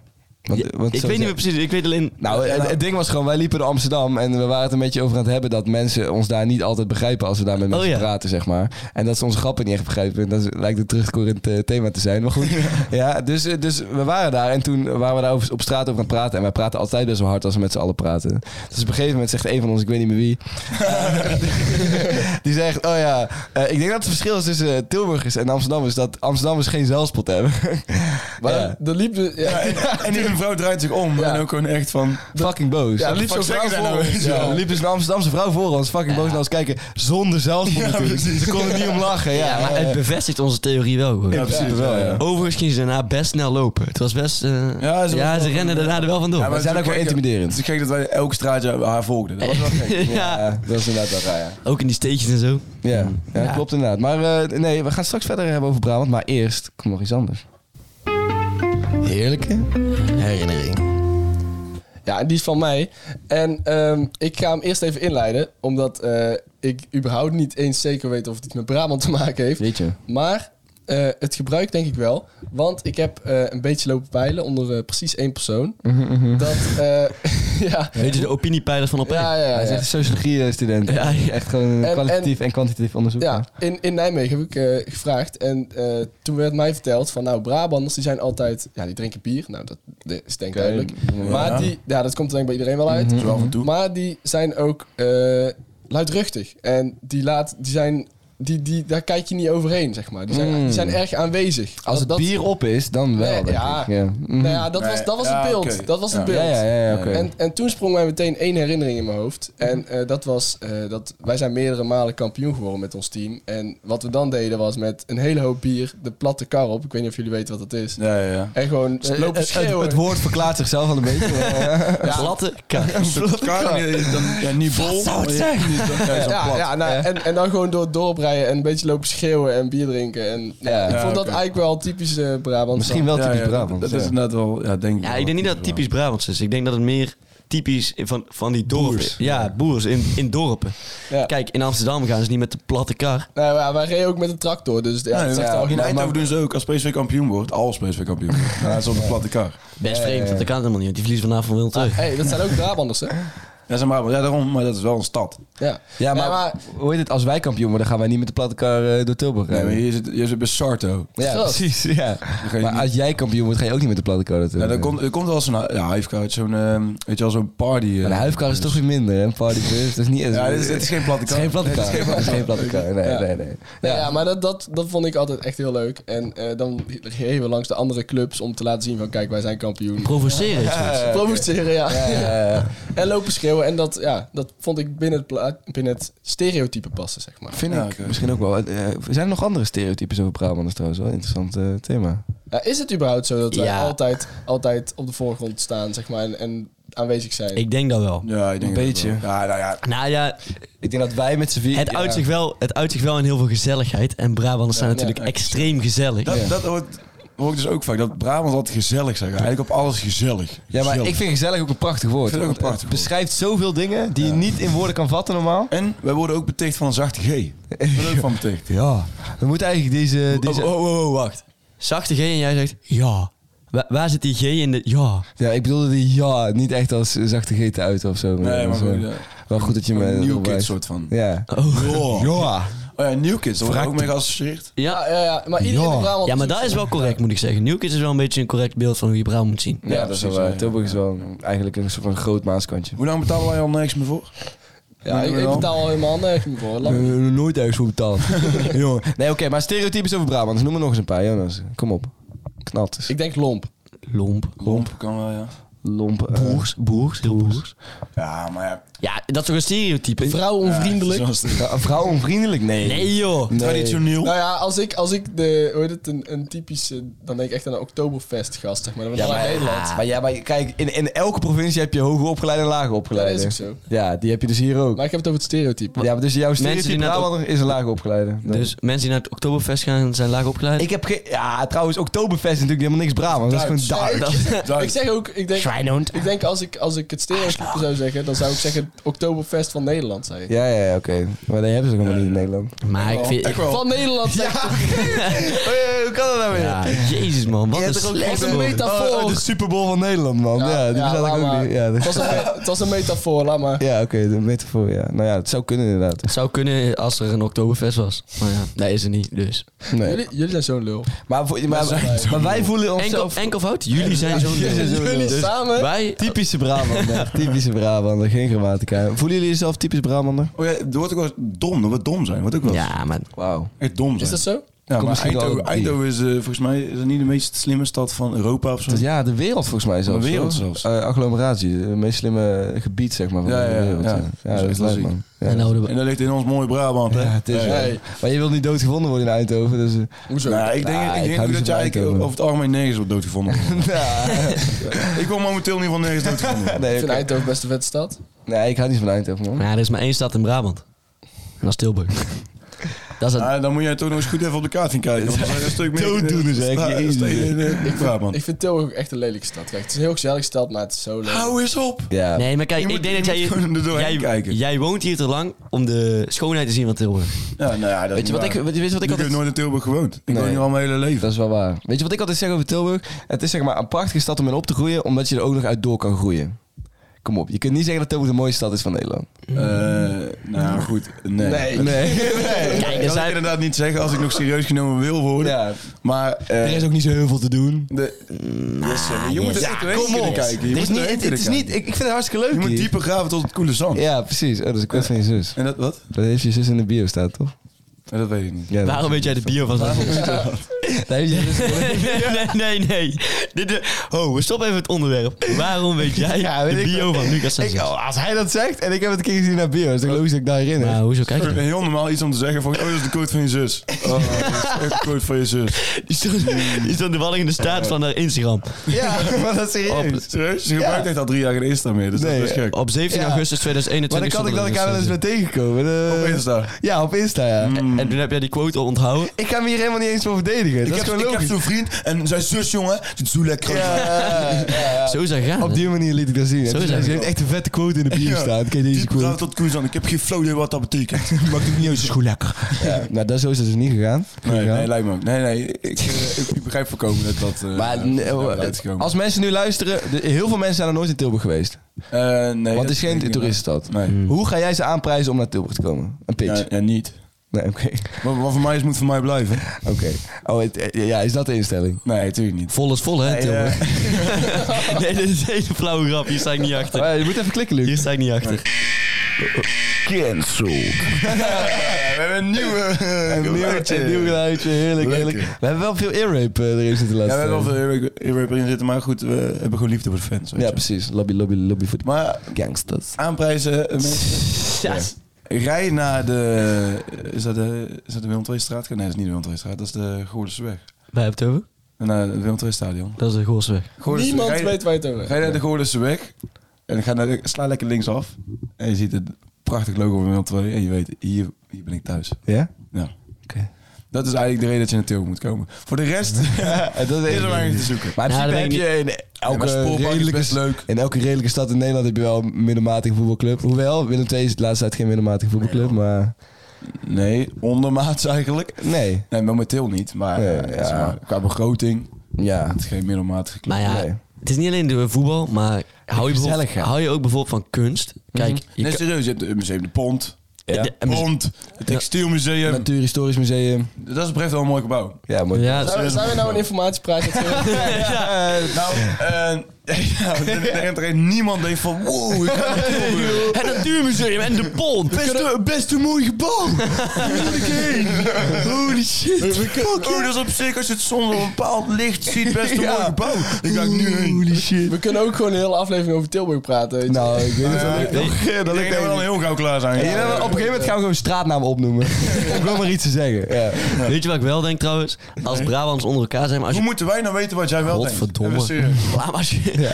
[SPEAKER 2] Want,
[SPEAKER 4] Ja,
[SPEAKER 2] want
[SPEAKER 4] ik
[SPEAKER 2] zo-
[SPEAKER 4] weet niet meer precies. Ik weet alleen...
[SPEAKER 2] Nou, het, het ding was gewoon, wij liepen door Amsterdam en we waren het een beetje over aan het hebben dat mensen ons daar niet altijd begrijpen als we daar met mensen
[SPEAKER 4] ja.
[SPEAKER 2] praten, zeg maar. En dat ze onze grappen niet echt begrijpen. En dat is- lijkt een terugkerend eh, thema te zijn. Maar goed, ja, dus, eh, dus we waren daar en toen waren we daar over- op straat over aan het praten. En wij praten altijd best wel hard als we met z'n allen praten. Dus op een gegeven moment zegt een van ons, ik weet niet meer wie, eh, die zegt, oh ja, eh, ik denk dat het verschil is tussen eh, Tilburgers en Amsterdammers, dat Amsterdammers geen zelfspot hebben.
[SPEAKER 5] Maar
[SPEAKER 2] Ja.
[SPEAKER 5] er liep de, ja,
[SPEAKER 3] En, en die mevrouw draait zich om
[SPEAKER 5] Ja.
[SPEAKER 3] en ook gewoon echt van...
[SPEAKER 2] Fucking boos.
[SPEAKER 5] Ja,
[SPEAKER 3] Ja, liep zo'n
[SPEAKER 5] fuck
[SPEAKER 3] vrouw
[SPEAKER 5] zeggen zij nou,
[SPEAKER 3] voor
[SPEAKER 5] weet
[SPEAKER 3] ons.
[SPEAKER 5] je wel.
[SPEAKER 3] Ja.
[SPEAKER 2] Ja, liep dus een Amsterdamse vrouw voor ons, fucking boos naar ons kijken, zonder zelfspot
[SPEAKER 3] Ja,
[SPEAKER 2] natuurlijk.
[SPEAKER 3] precies.
[SPEAKER 2] Ze kon er niet om lachen. Ja,
[SPEAKER 4] Ja, maar het bevestigt onze theorie wel gewoon.
[SPEAKER 3] Ja, precies.
[SPEAKER 2] wel, ja.
[SPEAKER 3] Ja,
[SPEAKER 4] Overigens gingen ze daarna best snel lopen. Het was best... eh,
[SPEAKER 3] Ja,
[SPEAKER 4] ja,
[SPEAKER 3] ze
[SPEAKER 4] ze,
[SPEAKER 3] was wel-
[SPEAKER 4] rennen daarna er wel
[SPEAKER 3] Ja,
[SPEAKER 4] vandoor.
[SPEAKER 3] maar
[SPEAKER 2] Wij zijn
[SPEAKER 3] het
[SPEAKER 2] ook
[SPEAKER 3] is
[SPEAKER 2] wel
[SPEAKER 3] gek dat-
[SPEAKER 2] intimiderend.
[SPEAKER 3] Het is gek dat wij elk straatje haar volgden. Dat was wel gek.
[SPEAKER 4] ja.
[SPEAKER 2] Ja, dat is inderdaad wel raar, ja.
[SPEAKER 4] Ook in die steetjes en zo.
[SPEAKER 2] Ja, ja, klopt inderdaad. Maar eh, nee, we gaan straks verder hebben over Brabant, maar eerst komt nog iets anders.
[SPEAKER 5] Heerlijke herinnering. Ja, en die is van mij. En ehm, ik ga hem eerst even inleiden, omdat eh, ik überhaupt niet eens zeker weet of het iets met Brabant te maken heeft.
[SPEAKER 2] Weet je?
[SPEAKER 5] Maar eh, het gebruik denk ik wel, want ik heb eh, een beetje lopen peilen onder eh, precies één persoon.
[SPEAKER 2] Mhm,
[SPEAKER 5] Dat, eh, ja,
[SPEAKER 4] Weet je, de opiniepeilers van op één.
[SPEAKER 5] ja, ja, ja,
[SPEAKER 2] Hij is echt een sociologie-student.
[SPEAKER 4] Ja, ja.
[SPEAKER 2] Echt gewoon
[SPEAKER 5] En-
[SPEAKER 2] kwalitatief en, kwantitatief onderzoek.
[SPEAKER 5] Ja, in, in Nijmegen heb ik eh, gevraagd en eh, toen werd mij verteld van nou, Brabanders die zijn altijd, ja die drinken bier, nou dat is denk ik duidelijk. Maar die, ja dat komt er denk ik bij iedereen wel
[SPEAKER 2] Mm.
[SPEAKER 5] uit.
[SPEAKER 3] Zowel van toe.
[SPEAKER 5] Maar die zijn ook eh, luidruchtig. En die laat, die zijn, die, die, daar kijk je niet overheen, zeg maar. Die zijn,
[SPEAKER 2] Mm.
[SPEAKER 5] die zijn erg aanwezig.
[SPEAKER 2] Als het
[SPEAKER 5] dat,
[SPEAKER 2] bier op is, dan wel,
[SPEAKER 5] Nee,
[SPEAKER 2] denk
[SPEAKER 5] ja.
[SPEAKER 2] ik. Ja. Mhm.
[SPEAKER 5] Nou ja, dat was, dat was
[SPEAKER 3] Nee,
[SPEAKER 5] het
[SPEAKER 3] ja,
[SPEAKER 5] beeld.
[SPEAKER 3] oké.
[SPEAKER 5] Dat was het
[SPEAKER 3] Ja.
[SPEAKER 5] beeld.
[SPEAKER 2] ja, ja, ja, ja, oké.
[SPEAKER 5] En, en toen sprong mij meteen één herinnering in mijn hoofd. En eh, dat was eh, dat wij zijn meerdere malen kampioen geworden met ons team. En wat we dan deden was met een hele hoop bier de platte kar op. Ik weet niet of jullie weten wat dat is.
[SPEAKER 3] Ja, ja, ja.
[SPEAKER 5] En gewoon
[SPEAKER 2] Eh,
[SPEAKER 5] lopen
[SPEAKER 2] het, het,
[SPEAKER 5] schreeuwen.
[SPEAKER 2] het woord verklaart zichzelf al een beetje. eh,
[SPEAKER 4] Platte kaart.
[SPEAKER 3] Elkaar, eh, dan, ja, niet bol.
[SPEAKER 4] zou het
[SPEAKER 3] maar je-
[SPEAKER 4] zijn?
[SPEAKER 3] niet- dan- ja, zo'n
[SPEAKER 5] Ja,
[SPEAKER 3] plat.
[SPEAKER 5] ja, nou, en, en dan gewoon door het dorp rijden en een beetje lopen schreeuwen en bier drinken. En, nou,
[SPEAKER 2] Ja.
[SPEAKER 5] ik
[SPEAKER 3] Ja,
[SPEAKER 5] vond dat
[SPEAKER 3] oké.
[SPEAKER 5] eigenlijk wel typisch eh Brabant.
[SPEAKER 2] Misschien wel
[SPEAKER 3] Ja,
[SPEAKER 2] typisch
[SPEAKER 3] ja,
[SPEAKER 2] Brabant.
[SPEAKER 3] Dat
[SPEAKER 2] ja.
[SPEAKER 3] is inderdaad wel, ja, denk ik.
[SPEAKER 4] Ja,
[SPEAKER 3] wel
[SPEAKER 4] ik denk niet dat het
[SPEAKER 3] Brabant.
[SPEAKER 4] typisch Brabants is. Ik denk dat het meer typisch van, van die dorpen.
[SPEAKER 3] Boers.
[SPEAKER 4] Ja, boers in, in dorpen.
[SPEAKER 5] Ja.
[SPEAKER 4] Kijk, in Amsterdam gaan ze niet met de platte kar.
[SPEAKER 5] Nou, ja, wij reden ook met een tractor, dus ja,
[SPEAKER 3] Ja,
[SPEAKER 5] dat zegt al
[SPEAKER 3] in
[SPEAKER 5] genoeg.
[SPEAKER 3] Eindhoven doen ze ook. Als PSV kampioen wordt, als PSV kampioen wordt, dan is op de platte kar.
[SPEAKER 4] Best vreemd, want dat kan helemaal niet. Want die verliezen vanavond wel terug.
[SPEAKER 5] Hey, dat zijn ook Brabanders, hè?
[SPEAKER 3] Ja, zeg maar, ja, daarom, maar dat is wel een stad.
[SPEAKER 5] Ja,
[SPEAKER 2] Ja, maar,
[SPEAKER 5] Nee, maar-
[SPEAKER 2] hoe heet het? Als wij kampioen worden, gaan wij niet met de platte kar eh, door Tilburg
[SPEAKER 3] Nee,
[SPEAKER 2] rijden.
[SPEAKER 3] maar hier zit, hier zit bij Sarto.
[SPEAKER 2] ja,
[SPEAKER 5] Gras.
[SPEAKER 2] precies. Ja.
[SPEAKER 3] ga je
[SPEAKER 2] Maar
[SPEAKER 3] niet-
[SPEAKER 2] als jij kampioen wordt, ga je ook niet met de platte kar door
[SPEAKER 3] Ja,
[SPEAKER 2] Tilburg.
[SPEAKER 3] er komt, er komt wel zo'n ja, huifkar uit zo'n, ehm, weet je wel, zo'n party. eh.
[SPEAKER 2] Maar een huifkar is toch weer minder, hè? Een partybus. Dat is niet...
[SPEAKER 3] Ja, dit is, dit is geen platte
[SPEAKER 2] Het
[SPEAKER 3] kar.
[SPEAKER 2] is geen platte
[SPEAKER 3] Nee,
[SPEAKER 2] kar.
[SPEAKER 3] dit is geen
[SPEAKER 2] Het is geen platte kar. Nee,
[SPEAKER 5] Ja.
[SPEAKER 2] nee, nee.
[SPEAKER 5] ja.
[SPEAKER 2] Ja.
[SPEAKER 5] maar dat, dat, dat vond ik altijd echt heel leuk. En eh, dan geven we langs de andere clubs om te laten zien van... kijk, wij zijn kampioen.
[SPEAKER 4] Provoceren is het.
[SPEAKER 5] Provoceren, ja.
[SPEAKER 2] Eh,
[SPEAKER 5] En lopen schreeuwen. En dat, ja, dat vond ik binnen het, pla- binnen het stereotype passen, zeg maar.
[SPEAKER 2] vind
[SPEAKER 3] Ja,
[SPEAKER 2] ik
[SPEAKER 3] oké.
[SPEAKER 2] misschien ook wel. Eh, eh, zijn er nog andere stereotypes over Brabanders trouwens? Wel een interessant eh, thema.
[SPEAKER 5] Ja, is het überhaupt zo dat wij
[SPEAKER 4] Ja.
[SPEAKER 5] altijd, altijd op de voorgrond staan, zeg maar, en, en aanwezig zijn?
[SPEAKER 4] Ik denk dat wel.
[SPEAKER 3] Ja, ik denk
[SPEAKER 2] Een
[SPEAKER 3] het
[SPEAKER 2] beetje.
[SPEAKER 3] wel. Ja, nou ja.
[SPEAKER 4] Nou ja,
[SPEAKER 2] Ik denk dat wij met z'n vier...
[SPEAKER 4] het,
[SPEAKER 2] ja.
[SPEAKER 4] uitzicht wel, het uitzicht wel in heel veel gezelligheid. En Brabanders zijn
[SPEAKER 5] Ja,
[SPEAKER 4] natuurlijk
[SPEAKER 5] ja.
[SPEAKER 4] extreem gezellig.
[SPEAKER 3] Dat, dat hoort, hoor ik dus ook vaak. Dat Brabant altijd gezellig zeggen. Eigenlijk op alles gezellig.
[SPEAKER 2] Ja, maar
[SPEAKER 3] Gezellig.
[SPEAKER 2] ik vind gezellig ook een prachtig woord.
[SPEAKER 3] Ik vind het ook een
[SPEAKER 2] Want
[SPEAKER 3] prachtig
[SPEAKER 2] het beschrijft zoveel dingen die je niet in woorden kan vatten normaal.
[SPEAKER 3] En wij worden ook beticht van een zachte G. Wat ook van beticht.
[SPEAKER 2] Ja. We moeten eigenlijk deze...
[SPEAKER 4] Oh,
[SPEAKER 2] deze...
[SPEAKER 4] oh, oh, oh, wacht. Zachte G en jij zegt ja. Wa- waar zit die G in de ja?
[SPEAKER 2] Ja, ik bedoelde die ja niet echt als eh, zachte G te uiten of zo.
[SPEAKER 3] Nee, maar
[SPEAKER 2] zo.
[SPEAKER 3] goed. ja.
[SPEAKER 2] Wel goed dat je me...
[SPEAKER 3] Een New
[SPEAKER 2] erop
[SPEAKER 3] Kid
[SPEAKER 2] wijst.
[SPEAKER 3] soort van.
[SPEAKER 2] Ja.
[SPEAKER 3] Oh.
[SPEAKER 2] Ja.
[SPEAKER 3] Oh ja, New Kids. Daar word ik ook mee geassocieerd.
[SPEAKER 5] ja, ja, ja, maar iedereen
[SPEAKER 2] Ja.
[SPEAKER 5] in Brabant...
[SPEAKER 4] Ja, maar dat is wel correct, moet ik zeggen. Nieuwkids is wel een beetje een correct beeld van hoe je Brabant moet zien.
[SPEAKER 2] Ja, dat is wel
[SPEAKER 3] precies,
[SPEAKER 2] waar.
[SPEAKER 3] ja.
[SPEAKER 2] Tilburg is wel een- eigenlijk een soort van groot maaskantje.
[SPEAKER 3] Hoe lang betalen wij al niks meer voor?
[SPEAKER 5] Ja, ik, ik betaal al helemaal nergens voor. Laat-
[SPEAKER 2] nooit ergens voor betaald. nee, oké, maar stereotypes over Brabant. dus Noem er nog eens een paar, Jonas. Kom op. Knalt eens.
[SPEAKER 5] Ik denk lomp.
[SPEAKER 4] Lomp.
[SPEAKER 3] Lomp kan wel, ja.
[SPEAKER 2] Lomp. eh,
[SPEAKER 4] Boers, boers, heel boers.
[SPEAKER 3] Ja, maar ja.
[SPEAKER 4] Ja, dat is toch een stereotype?
[SPEAKER 5] Vrouw onvriendelijk.
[SPEAKER 3] Zoals de-
[SPEAKER 2] vrouw- vrouwonvriendelijk? Nee.
[SPEAKER 4] Nee joh.
[SPEAKER 2] Nee.
[SPEAKER 3] Traditioneel.
[SPEAKER 5] Nou ja, als ik, als ik de, hoe heet het, een, een typische, dan denk ik echt aan een Oktoberfest gast, zeg maar. Dan
[SPEAKER 2] Ja, maar, maar, ja, maar kijk, in, in elke provincie heb je hoger opgeleide en lager opgeleide.
[SPEAKER 5] Ja, dat is ook zo.
[SPEAKER 2] Ja, die heb je dus hier ook.
[SPEAKER 5] Maar ik heb het over het stereotype.
[SPEAKER 2] Ja, maar dus jouw
[SPEAKER 4] die
[SPEAKER 2] stereotype
[SPEAKER 4] net op-
[SPEAKER 2] Brabander is een lager opgeleide. Nee.
[SPEAKER 4] Dus mensen die naar het Oktoberfest gaan zijn laag opgeleid.
[SPEAKER 2] Ik heb geen... Ja, trouwens, Oktoberfest is natuurlijk helemaal niks Brabant. Dat is gewoon
[SPEAKER 5] Duits.
[SPEAKER 2] Duits.
[SPEAKER 5] Ik zeg ook, ik denk,
[SPEAKER 4] Schweinhund.
[SPEAKER 5] ik denk als, ik, als ik het stereotype zou zeggen, dan zou ik zeggen Oktoberfest van Nederland, zei ik.
[SPEAKER 2] Ja, ja, ja, oké. Maar die hebben ze helemaal niet in Nederland.
[SPEAKER 4] Maar ik vind...
[SPEAKER 3] Echt wel.
[SPEAKER 5] Van Nederland, zei ik.
[SPEAKER 2] hoe kan dat nou
[SPEAKER 4] ja, jezus man, wat
[SPEAKER 2] Je
[SPEAKER 4] een
[SPEAKER 2] hebt er ook
[SPEAKER 4] slechte...
[SPEAKER 5] echt een
[SPEAKER 4] man.
[SPEAKER 5] metafoor.
[SPEAKER 2] Oh, oh, de Super Bowl van Nederland, man. Ja, die
[SPEAKER 5] ja,
[SPEAKER 2] bestaat
[SPEAKER 5] laat
[SPEAKER 2] ook
[SPEAKER 5] maar.
[SPEAKER 2] niet. Ja, dat-
[SPEAKER 5] Het was, een- het was een metafoor, laat maar.
[SPEAKER 2] ja oké, de metafoor, ja. Nou ja, het zou kunnen inderdaad.
[SPEAKER 4] Het zou kunnen als er een Oktoberfest was. Maar ja, dat is er niet, dus.
[SPEAKER 2] Nee.
[SPEAKER 5] Jullie, jullie zijn zo'n lul.
[SPEAKER 2] Maar, vo- maar, maar, wij voelen
[SPEAKER 4] Enkel,
[SPEAKER 2] onszelf...
[SPEAKER 4] enkelvoud? Jullie zijn zo'n
[SPEAKER 2] jullie zijn zo'n lul.
[SPEAKER 4] Dus
[SPEAKER 5] samen?
[SPEAKER 4] Wij...
[SPEAKER 2] Typische Brabander. typische Brabander, geen grammatica. Voelen jullie jezelf typisch Brabander?
[SPEAKER 3] Oh ja, er wordt ook wel eens dom. Dat wordt dom zijn. Wordt ook wel eens.
[SPEAKER 4] Ja, maar...
[SPEAKER 2] Wauw.
[SPEAKER 3] Echt dom zijn.
[SPEAKER 5] Is dat zo?
[SPEAKER 3] Ja, maar
[SPEAKER 2] misschien wel
[SPEAKER 3] Eindhoven,
[SPEAKER 2] door die-
[SPEAKER 3] Eindhoven is eh, volgens mij is dat niet de meest slimme stad van Europa of zo.
[SPEAKER 2] Ja, de wereld volgens mij zelfs.
[SPEAKER 3] De wereld
[SPEAKER 2] hoor.
[SPEAKER 3] zelfs.
[SPEAKER 2] Eh, agglomeratie, het meest slimme gebied zeg maar van
[SPEAKER 3] Ja,
[SPEAKER 2] de
[SPEAKER 3] ja,
[SPEAKER 2] wereld.
[SPEAKER 3] ja.
[SPEAKER 2] Ja,
[SPEAKER 3] Dat
[SPEAKER 2] dat
[SPEAKER 3] is
[SPEAKER 2] is
[SPEAKER 3] echt
[SPEAKER 2] leuk
[SPEAKER 3] ziek.
[SPEAKER 2] man. Ja.
[SPEAKER 4] En nou de...
[SPEAKER 3] En dat ligt in ons mooie Brabant,
[SPEAKER 2] Ja,
[SPEAKER 3] hè?
[SPEAKER 2] het is,
[SPEAKER 3] Ja, ja.
[SPEAKER 5] Hey.
[SPEAKER 2] Maar je wilt niet doodgevonden worden in Eindhoven, dus... eh,
[SPEAKER 5] Hoezo?
[SPEAKER 3] Nee, ik denk,
[SPEAKER 2] Nou, ik
[SPEAKER 3] ik denk
[SPEAKER 2] hou
[SPEAKER 3] ook
[SPEAKER 2] niet
[SPEAKER 3] dat
[SPEAKER 2] zo van
[SPEAKER 3] jij eigenlijk
[SPEAKER 2] Eindhoven.
[SPEAKER 3] over het algemeen nergens wordt doodgevonden. ik wil momenteel in ieder geval nergens doodgevonden worden.
[SPEAKER 2] nee,
[SPEAKER 5] Ik vind
[SPEAKER 2] oké.
[SPEAKER 5] Eindhoven best een vette stad.
[SPEAKER 2] nee, ik hou niet van Eindhoven, man.
[SPEAKER 4] Maar ja, er is maar één stad in Brabant. En dat is Tilburg. dat is het...
[SPEAKER 3] Ah, dan moet jij toch nog eens goed even op de kaart gaan kijken. Want er zijn een stuk meer...
[SPEAKER 2] Dooddoeners, hè?
[SPEAKER 3] Ja,
[SPEAKER 2] Jezus.
[SPEAKER 3] sta je in, eh, Brabant.
[SPEAKER 5] Ik vind Tilburg ook echt een lelijke stad. Kijk, het is een heel gezellig stad, maar het is zo lelijk.
[SPEAKER 3] Hou eens op!
[SPEAKER 2] Ja.
[SPEAKER 4] Nee, maar kijk,
[SPEAKER 3] Je
[SPEAKER 4] ik
[SPEAKER 3] moet-
[SPEAKER 4] denk dat
[SPEAKER 3] je
[SPEAKER 4] jij,
[SPEAKER 3] moet gewoon er doorheen
[SPEAKER 4] jij,
[SPEAKER 3] kijken.
[SPEAKER 4] jij woont hier te lang om de schoonheid te zien van Tilburg.
[SPEAKER 3] Ja, nou ja, dat
[SPEAKER 2] Weet je wat ik, weet je, weet je wat ik
[SPEAKER 3] Ik heb
[SPEAKER 2] altijd...
[SPEAKER 3] nooit in Tilburg gewoond. Ik woon
[SPEAKER 2] Nee.
[SPEAKER 3] hier al mijn hele leven.
[SPEAKER 2] Dat is wel waar. Weet je wat ik altijd zeg over Tilburg? Het is zeg maar een prachtige stad om in op te groeien, omdat je er ook nog uit door kan groeien. Kom op, je kunt niet zeggen dat Tilburg de mooiste stad is van Nederland.
[SPEAKER 3] Eh,
[SPEAKER 2] Mm.
[SPEAKER 3] nou goed, nee.
[SPEAKER 5] Nee.
[SPEAKER 2] Nee.
[SPEAKER 3] dat
[SPEAKER 4] Kijk,
[SPEAKER 3] kan
[SPEAKER 4] er
[SPEAKER 3] ik
[SPEAKER 4] zijn,
[SPEAKER 3] inderdaad niet zeggen als ik nog serieus genomen wil worden.
[SPEAKER 2] Ja.
[SPEAKER 3] Maar... eh,
[SPEAKER 2] ook Mm, niet zo heel veel te doen.
[SPEAKER 3] de, eh,
[SPEAKER 4] Ah,
[SPEAKER 3] je moet
[SPEAKER 4] yes.
[SPEAKER 3] er echt doorheen kunnen kijken. Je
[SPEAKER 2] Het is niet,
[SPEAKER 3] moet er doorheen
[SPEAKER 2] het
[SPEAKER 3] kunnen
[SPEAKER 2] is niet,
[SPEAKER 3] kijken.
[SPEAKER 2] ik, ik vind het hartstikke leuk
[SPEAKER 3] Je moet
[SPEAKER 2] hier.
[SPEAKER 3] dieper graven tot het koele zand.
[SPEAKER 2] Ja, precies. Oh, dat is een kwestie van je zus.
[SPEAKER 3] En dat wat?
[SPEAKER 2] Dat heeft je zus in de bio staan, toch?
[SPEAKER 3] Ja, dat weet ik niet.
[SPEAKER 2] Ja, dat-
[SPEAKER 4] waarom weet jij de bio van zijn
[SPEAKER 2] Daar heeft je zus-
[SPEAKER 4] Nee, nee, nee. Dit, eh, oh, we stoppen even het onderwerp. Waarom weet jij
[SPEAKER 2] Ja, weet
[SPEAKER 4] de
[SPEAKER 2] ik
[SPEAKER 4] bio van Lucas
[SPEAKER 2] Ik-
[SPEAKER 4] Sensors?
[SPEAKER 2] oh, als hij dat zegt en ik heb het een keer gezien naar bio, is het logisch dat ik daar herinner.
[SPEAKER 4] Maar hoezo kijk je?
[SPEAKER 3] Heel normaal iets om te zeggen van, oh, dat is de quote van je zus. Oh, dat is echt de quote van je zus.
[SPEAKER 4] Die stond, die stond toevallig in de staat van haar Instagram.
[SPEAKER 2] Ja, maar dat is
[SPEAKER 4] Oh,
[SPEAKER 2] serieus.
[SPEAKER 3] Serieus? Ze gebruikt echt al drie jaar geen Insta meer, dus
[SPEAKER 2] Nee,
[SPEAKER 3] dat is gek.
[SPEAKER 4] Op 17
[SPEAKER 2] Ja.
[SPEAKER 4] augustus
[SPEAKER 2] Maar
[SPEAKER 4] 2021
[SPEAKER 2] dan kan ik
[SPEAKER 4] stond
[SPEAKER 2] dat
[SPEAKER 4] er
[SPEAKER 2] ik haar wel eens
[SPEAKER 4] een
[SPEAKER 2] ben tegengekomen. Eh,
[SPEAKER 3] Op Insta.
[SPEAKER 2] Ja, op Insta, ja.
[SPEAKER 4] En toen heb jij die quote al onthouden.
[SPEAKER 2] Ik ga hem hier helemaal niet eens voor verdedigen. dat is
[SPEAKER 3] ik heb,
[SPEAKER 2] gewoon
[SPEAKER 3] ik heb
[SPEAKER 2] logisch.
[SPEAKER 3] zo'n vriend en zijn zus, jongen, zit zo lekker.
[SPEAKER 2] Ja, ja, ja, ja.
[SPEAKER 4] Zo is dat gegaan.
[SPEAKER 2] Op
[SPEAKER 4] hè?
[SPEAKER 2] die manier liet ik dat zien.
[SPEAKER 4] Zo is
[SPEAKER 2] Ze
[SPEAKER 4] het.
[SPEAKER 2] heeft echt een vette quote in de bio staan. Kijk deze
[SPEAKER 3] Diep graven
[SPEAKER 2] quote.
[SPEAKER 3] tot het koele zand. Ik heb geen flow idee wat dat betekent. Maar ik doe niet eens goed lekker.
[SPEAKER 2] Ja, nou, dat, zo is het dus niet gegaan.
[SPEAKER 3] Nee,
[SPEAKER 2] Gegaan.
[SPEAKER 3] nee, lijkt me ook. Nee, nee, ik, eh, ik, ik begrijp voorkomen dat dat... eh,
[SPEAKER 2] Maar
[SPEAKER 3] eh,
[SPEAKER 2] nee,
[SPEAKER 3] dat
[SPEAKER 2] hoor,
[SPEAKER 3] eruit is gekomen.
[SPEAKER 2] als mensen nu luisteren, de- heel veel mensen zijn er nooit in Tilburg geweest.
[SPEAKER 3] Eh, nee,
[SPEAKER 2] Want
[SPEAKER 3] dat
[SPEAKER 2] het is geen
[SPEAKER 3] denk ik
[SPEAKER 2] toeristenstad.
[SPEAKER 3] niet. Nee.
[SPEAKER 2] Hoe ga jij ze aanprijzen om naar Tilburg te komen? Een pitch?
[SPEAKER 3] Ja, ja, niet.
[SPEAKER 2] Nee, oké.
[SPEAKER 3] Wat, wat voor mij is, moet voor mij blijven.
[SPEAKER 2] Oké. Oh, het- eh, ja, is dat de instelling?
[SPEAKER 3] Nee, natuurlijk niet.
[SPEAKER 4] Vol is vol, hè, Tilburg?
[SPEAKER 3] Eh,
[SPEAKER 4] Nee, dit is een hele flauwe grap. Hier sta ik niet achter.
[SPEAKER 2] Oh, ja, je moet even klikken,
[SPEAKER 4] Hier
[SPEAKER 2] Luc.
[SPEAKER 4] sta ik niet achter.
[SPEAKER 3] we hebben een nieuwe... eh,
[SPEAKER 2] Een nieuwtje, een nieuw geluidje, heerlijk,
[SPEAKER 3] Lekker.
[SPEAKER 2] heerlijk. We hebben wel veel earrape eh, erin zitten
[SPEAKER 3] Ja, we
[SPEAKER 2] laten.
[SPEAKER 3] hebben wel veel Euro- Europa in zitten, maar goed, we hebben gewoon liefde voor de fans. weet
[SPEAKER 2] Ja,
[SPEAKER 3] je.
[SPEAKER 2] precies. Lobby, lobby, lobby voor de
[SPEAKER 3] Maar
[SPEAKER 2] gangsters.
[SPEAKER 3] aanprijzen, eh, mensen.
[SPEAKER 4] Ja.
[SPEAKER 3] Rij naar de... Is dat de, is dat de Willem II straat? Nee, dat is niet de Willem II straat. Dat is de Goorlensweg.
[SPEAKER 4] Wij hebben het over?
[SPEAKER 3] Naar het Willem II stadion.
[SPEAKER 4] Dat is de Goolsweg.
[SPEAKER 3] Goorlensweg.
[SPEAKER 5] Niemand
[SPEAKER 3] Rij-
[SPEAKER 5] weet waar je het over
[SPEAKER 3] Ga je naar
[SPEAKER 5] hebt.
[SPEAKER 3] de Goorlenseweg en ga naar de, sla lekker linksaf. En je ziet het prachtig logo van Willem 2 en je weet, hier, hier ben ik thuis.
[SPEAKER 2] Ja?
[SPEAKER 3] Ja.
[SPEAKER 2] Oké.
[SPEAKER 3] Dat is eigenlijk de reden dat je naar Tilburg moet komen. Voor de rest
[SPEAKER 2] dat is
[SPEAKER 3] is er weinig te zoeken.
[SPEAKER 2] Maar in
[SPEAKER 4] Nou,
[SPEAKER 2] principe
[SPEAKER 4] dat
[SPEAKER 2] heb
[SPEAKER 4] weet
[SPEAKER 2] je in elke,
[SPEAKER 3] maar Spoorpark is
[SPEAKER 2] redelijke,
[SPEAKER 3] best leuk.
[SPEAKER 2] in elke redelijke stad in Nederland heb je wel een middelmatige voetbalclub. Hoewel, Willem II is de laatste tijd geen middelmatige voetbalclub, maar
[SPEAKER 3] Nee, ondermaats eigenlijk.
[SPEAKER 2] nee.
[SPEAKER 3] Nee, momenteel niet. Maar,
[SPEAKER 2] Nee,
[SPEAKER 3] eh,
[SPEAKER 2] ja.
[SPEAKER 3] zeg maar, qua begroting,
[SPEAKER 2] Ja.
[SPEAKER 3] het is geen middelmatige club.
[SPEAKER 4] Maar ja,
[SPEAKER 2] Nee.
[SPEAKER 4] het is niet alleen de voetbal, maar hou je, bijvoorbeeld-
[SPEAKER 2] Gezelligheid.
[SPEAKER 4] hou je ook bijvoorbeeld van kunst? Kijk, je
[SPEAKER 3] Mhm. Nee,
[SPEAKER 4] kan-
[SPEAKER 3] serieus, je hebt het museum De Pont.
[SPEAKER 2] Ja.
[SPEAKER 4] de- en-
[SPEAKER 3] Pont, het Textielmuseum.
[SPEAKER 2] Natuurhistorisch Museum.
[SPEAKER 3] Dat is oprecht wel een mooi gebouw.
[SPEAKER 2] Ja, mooi.
[SPEAKER 4] ja,
[SPEAKER 5] Zijn we- Zijn we nou een informatiepraatje? aan het doen?
[SPEAKER 3] Nou, eh ja, er- er- er- niemand denkt van, wow, ik ga naar Tilburg.
[SPEAKER 4] het Natuurmuseum en de Pont.
[SPEAKER 3] Beste, beste mooi gebouw. Holy shit. Oh, dat is op zich als je het zonder een bepaald licht ziet best een mooi gebouw. Ik ga ik nu heen. Holy shit.
[SPEAKER 5] We kunnen ook gewoon een hele aflevering over Tilburg praten. weet je.
[SPEAKER 2] Nou, ik weet niet of dat lukt.
[SPEAKER 3] dat lijkt wel heel gauw klaar zijn.
[SPEAKER 2] Hey, jullie hebben- op een gegeven moment gaan we gewoon straatnamen opnoemen. Om wel maar iets te zeggen. Ja.
[SPEAKER 4] Weet je wat ik wel denk trouwens? Als Brabants onder elkaar zijn, maar als
[SPEAKER 3] Hoe
[SPEAKER 4] je...
[SPEAKER 3] moeten wij nou weten wat jij wel denkt?
[SPEAKER 4] Godverdomme.
[SPEAKER 3] Even serieus.
[SPEAKER 4] Laat maar als je...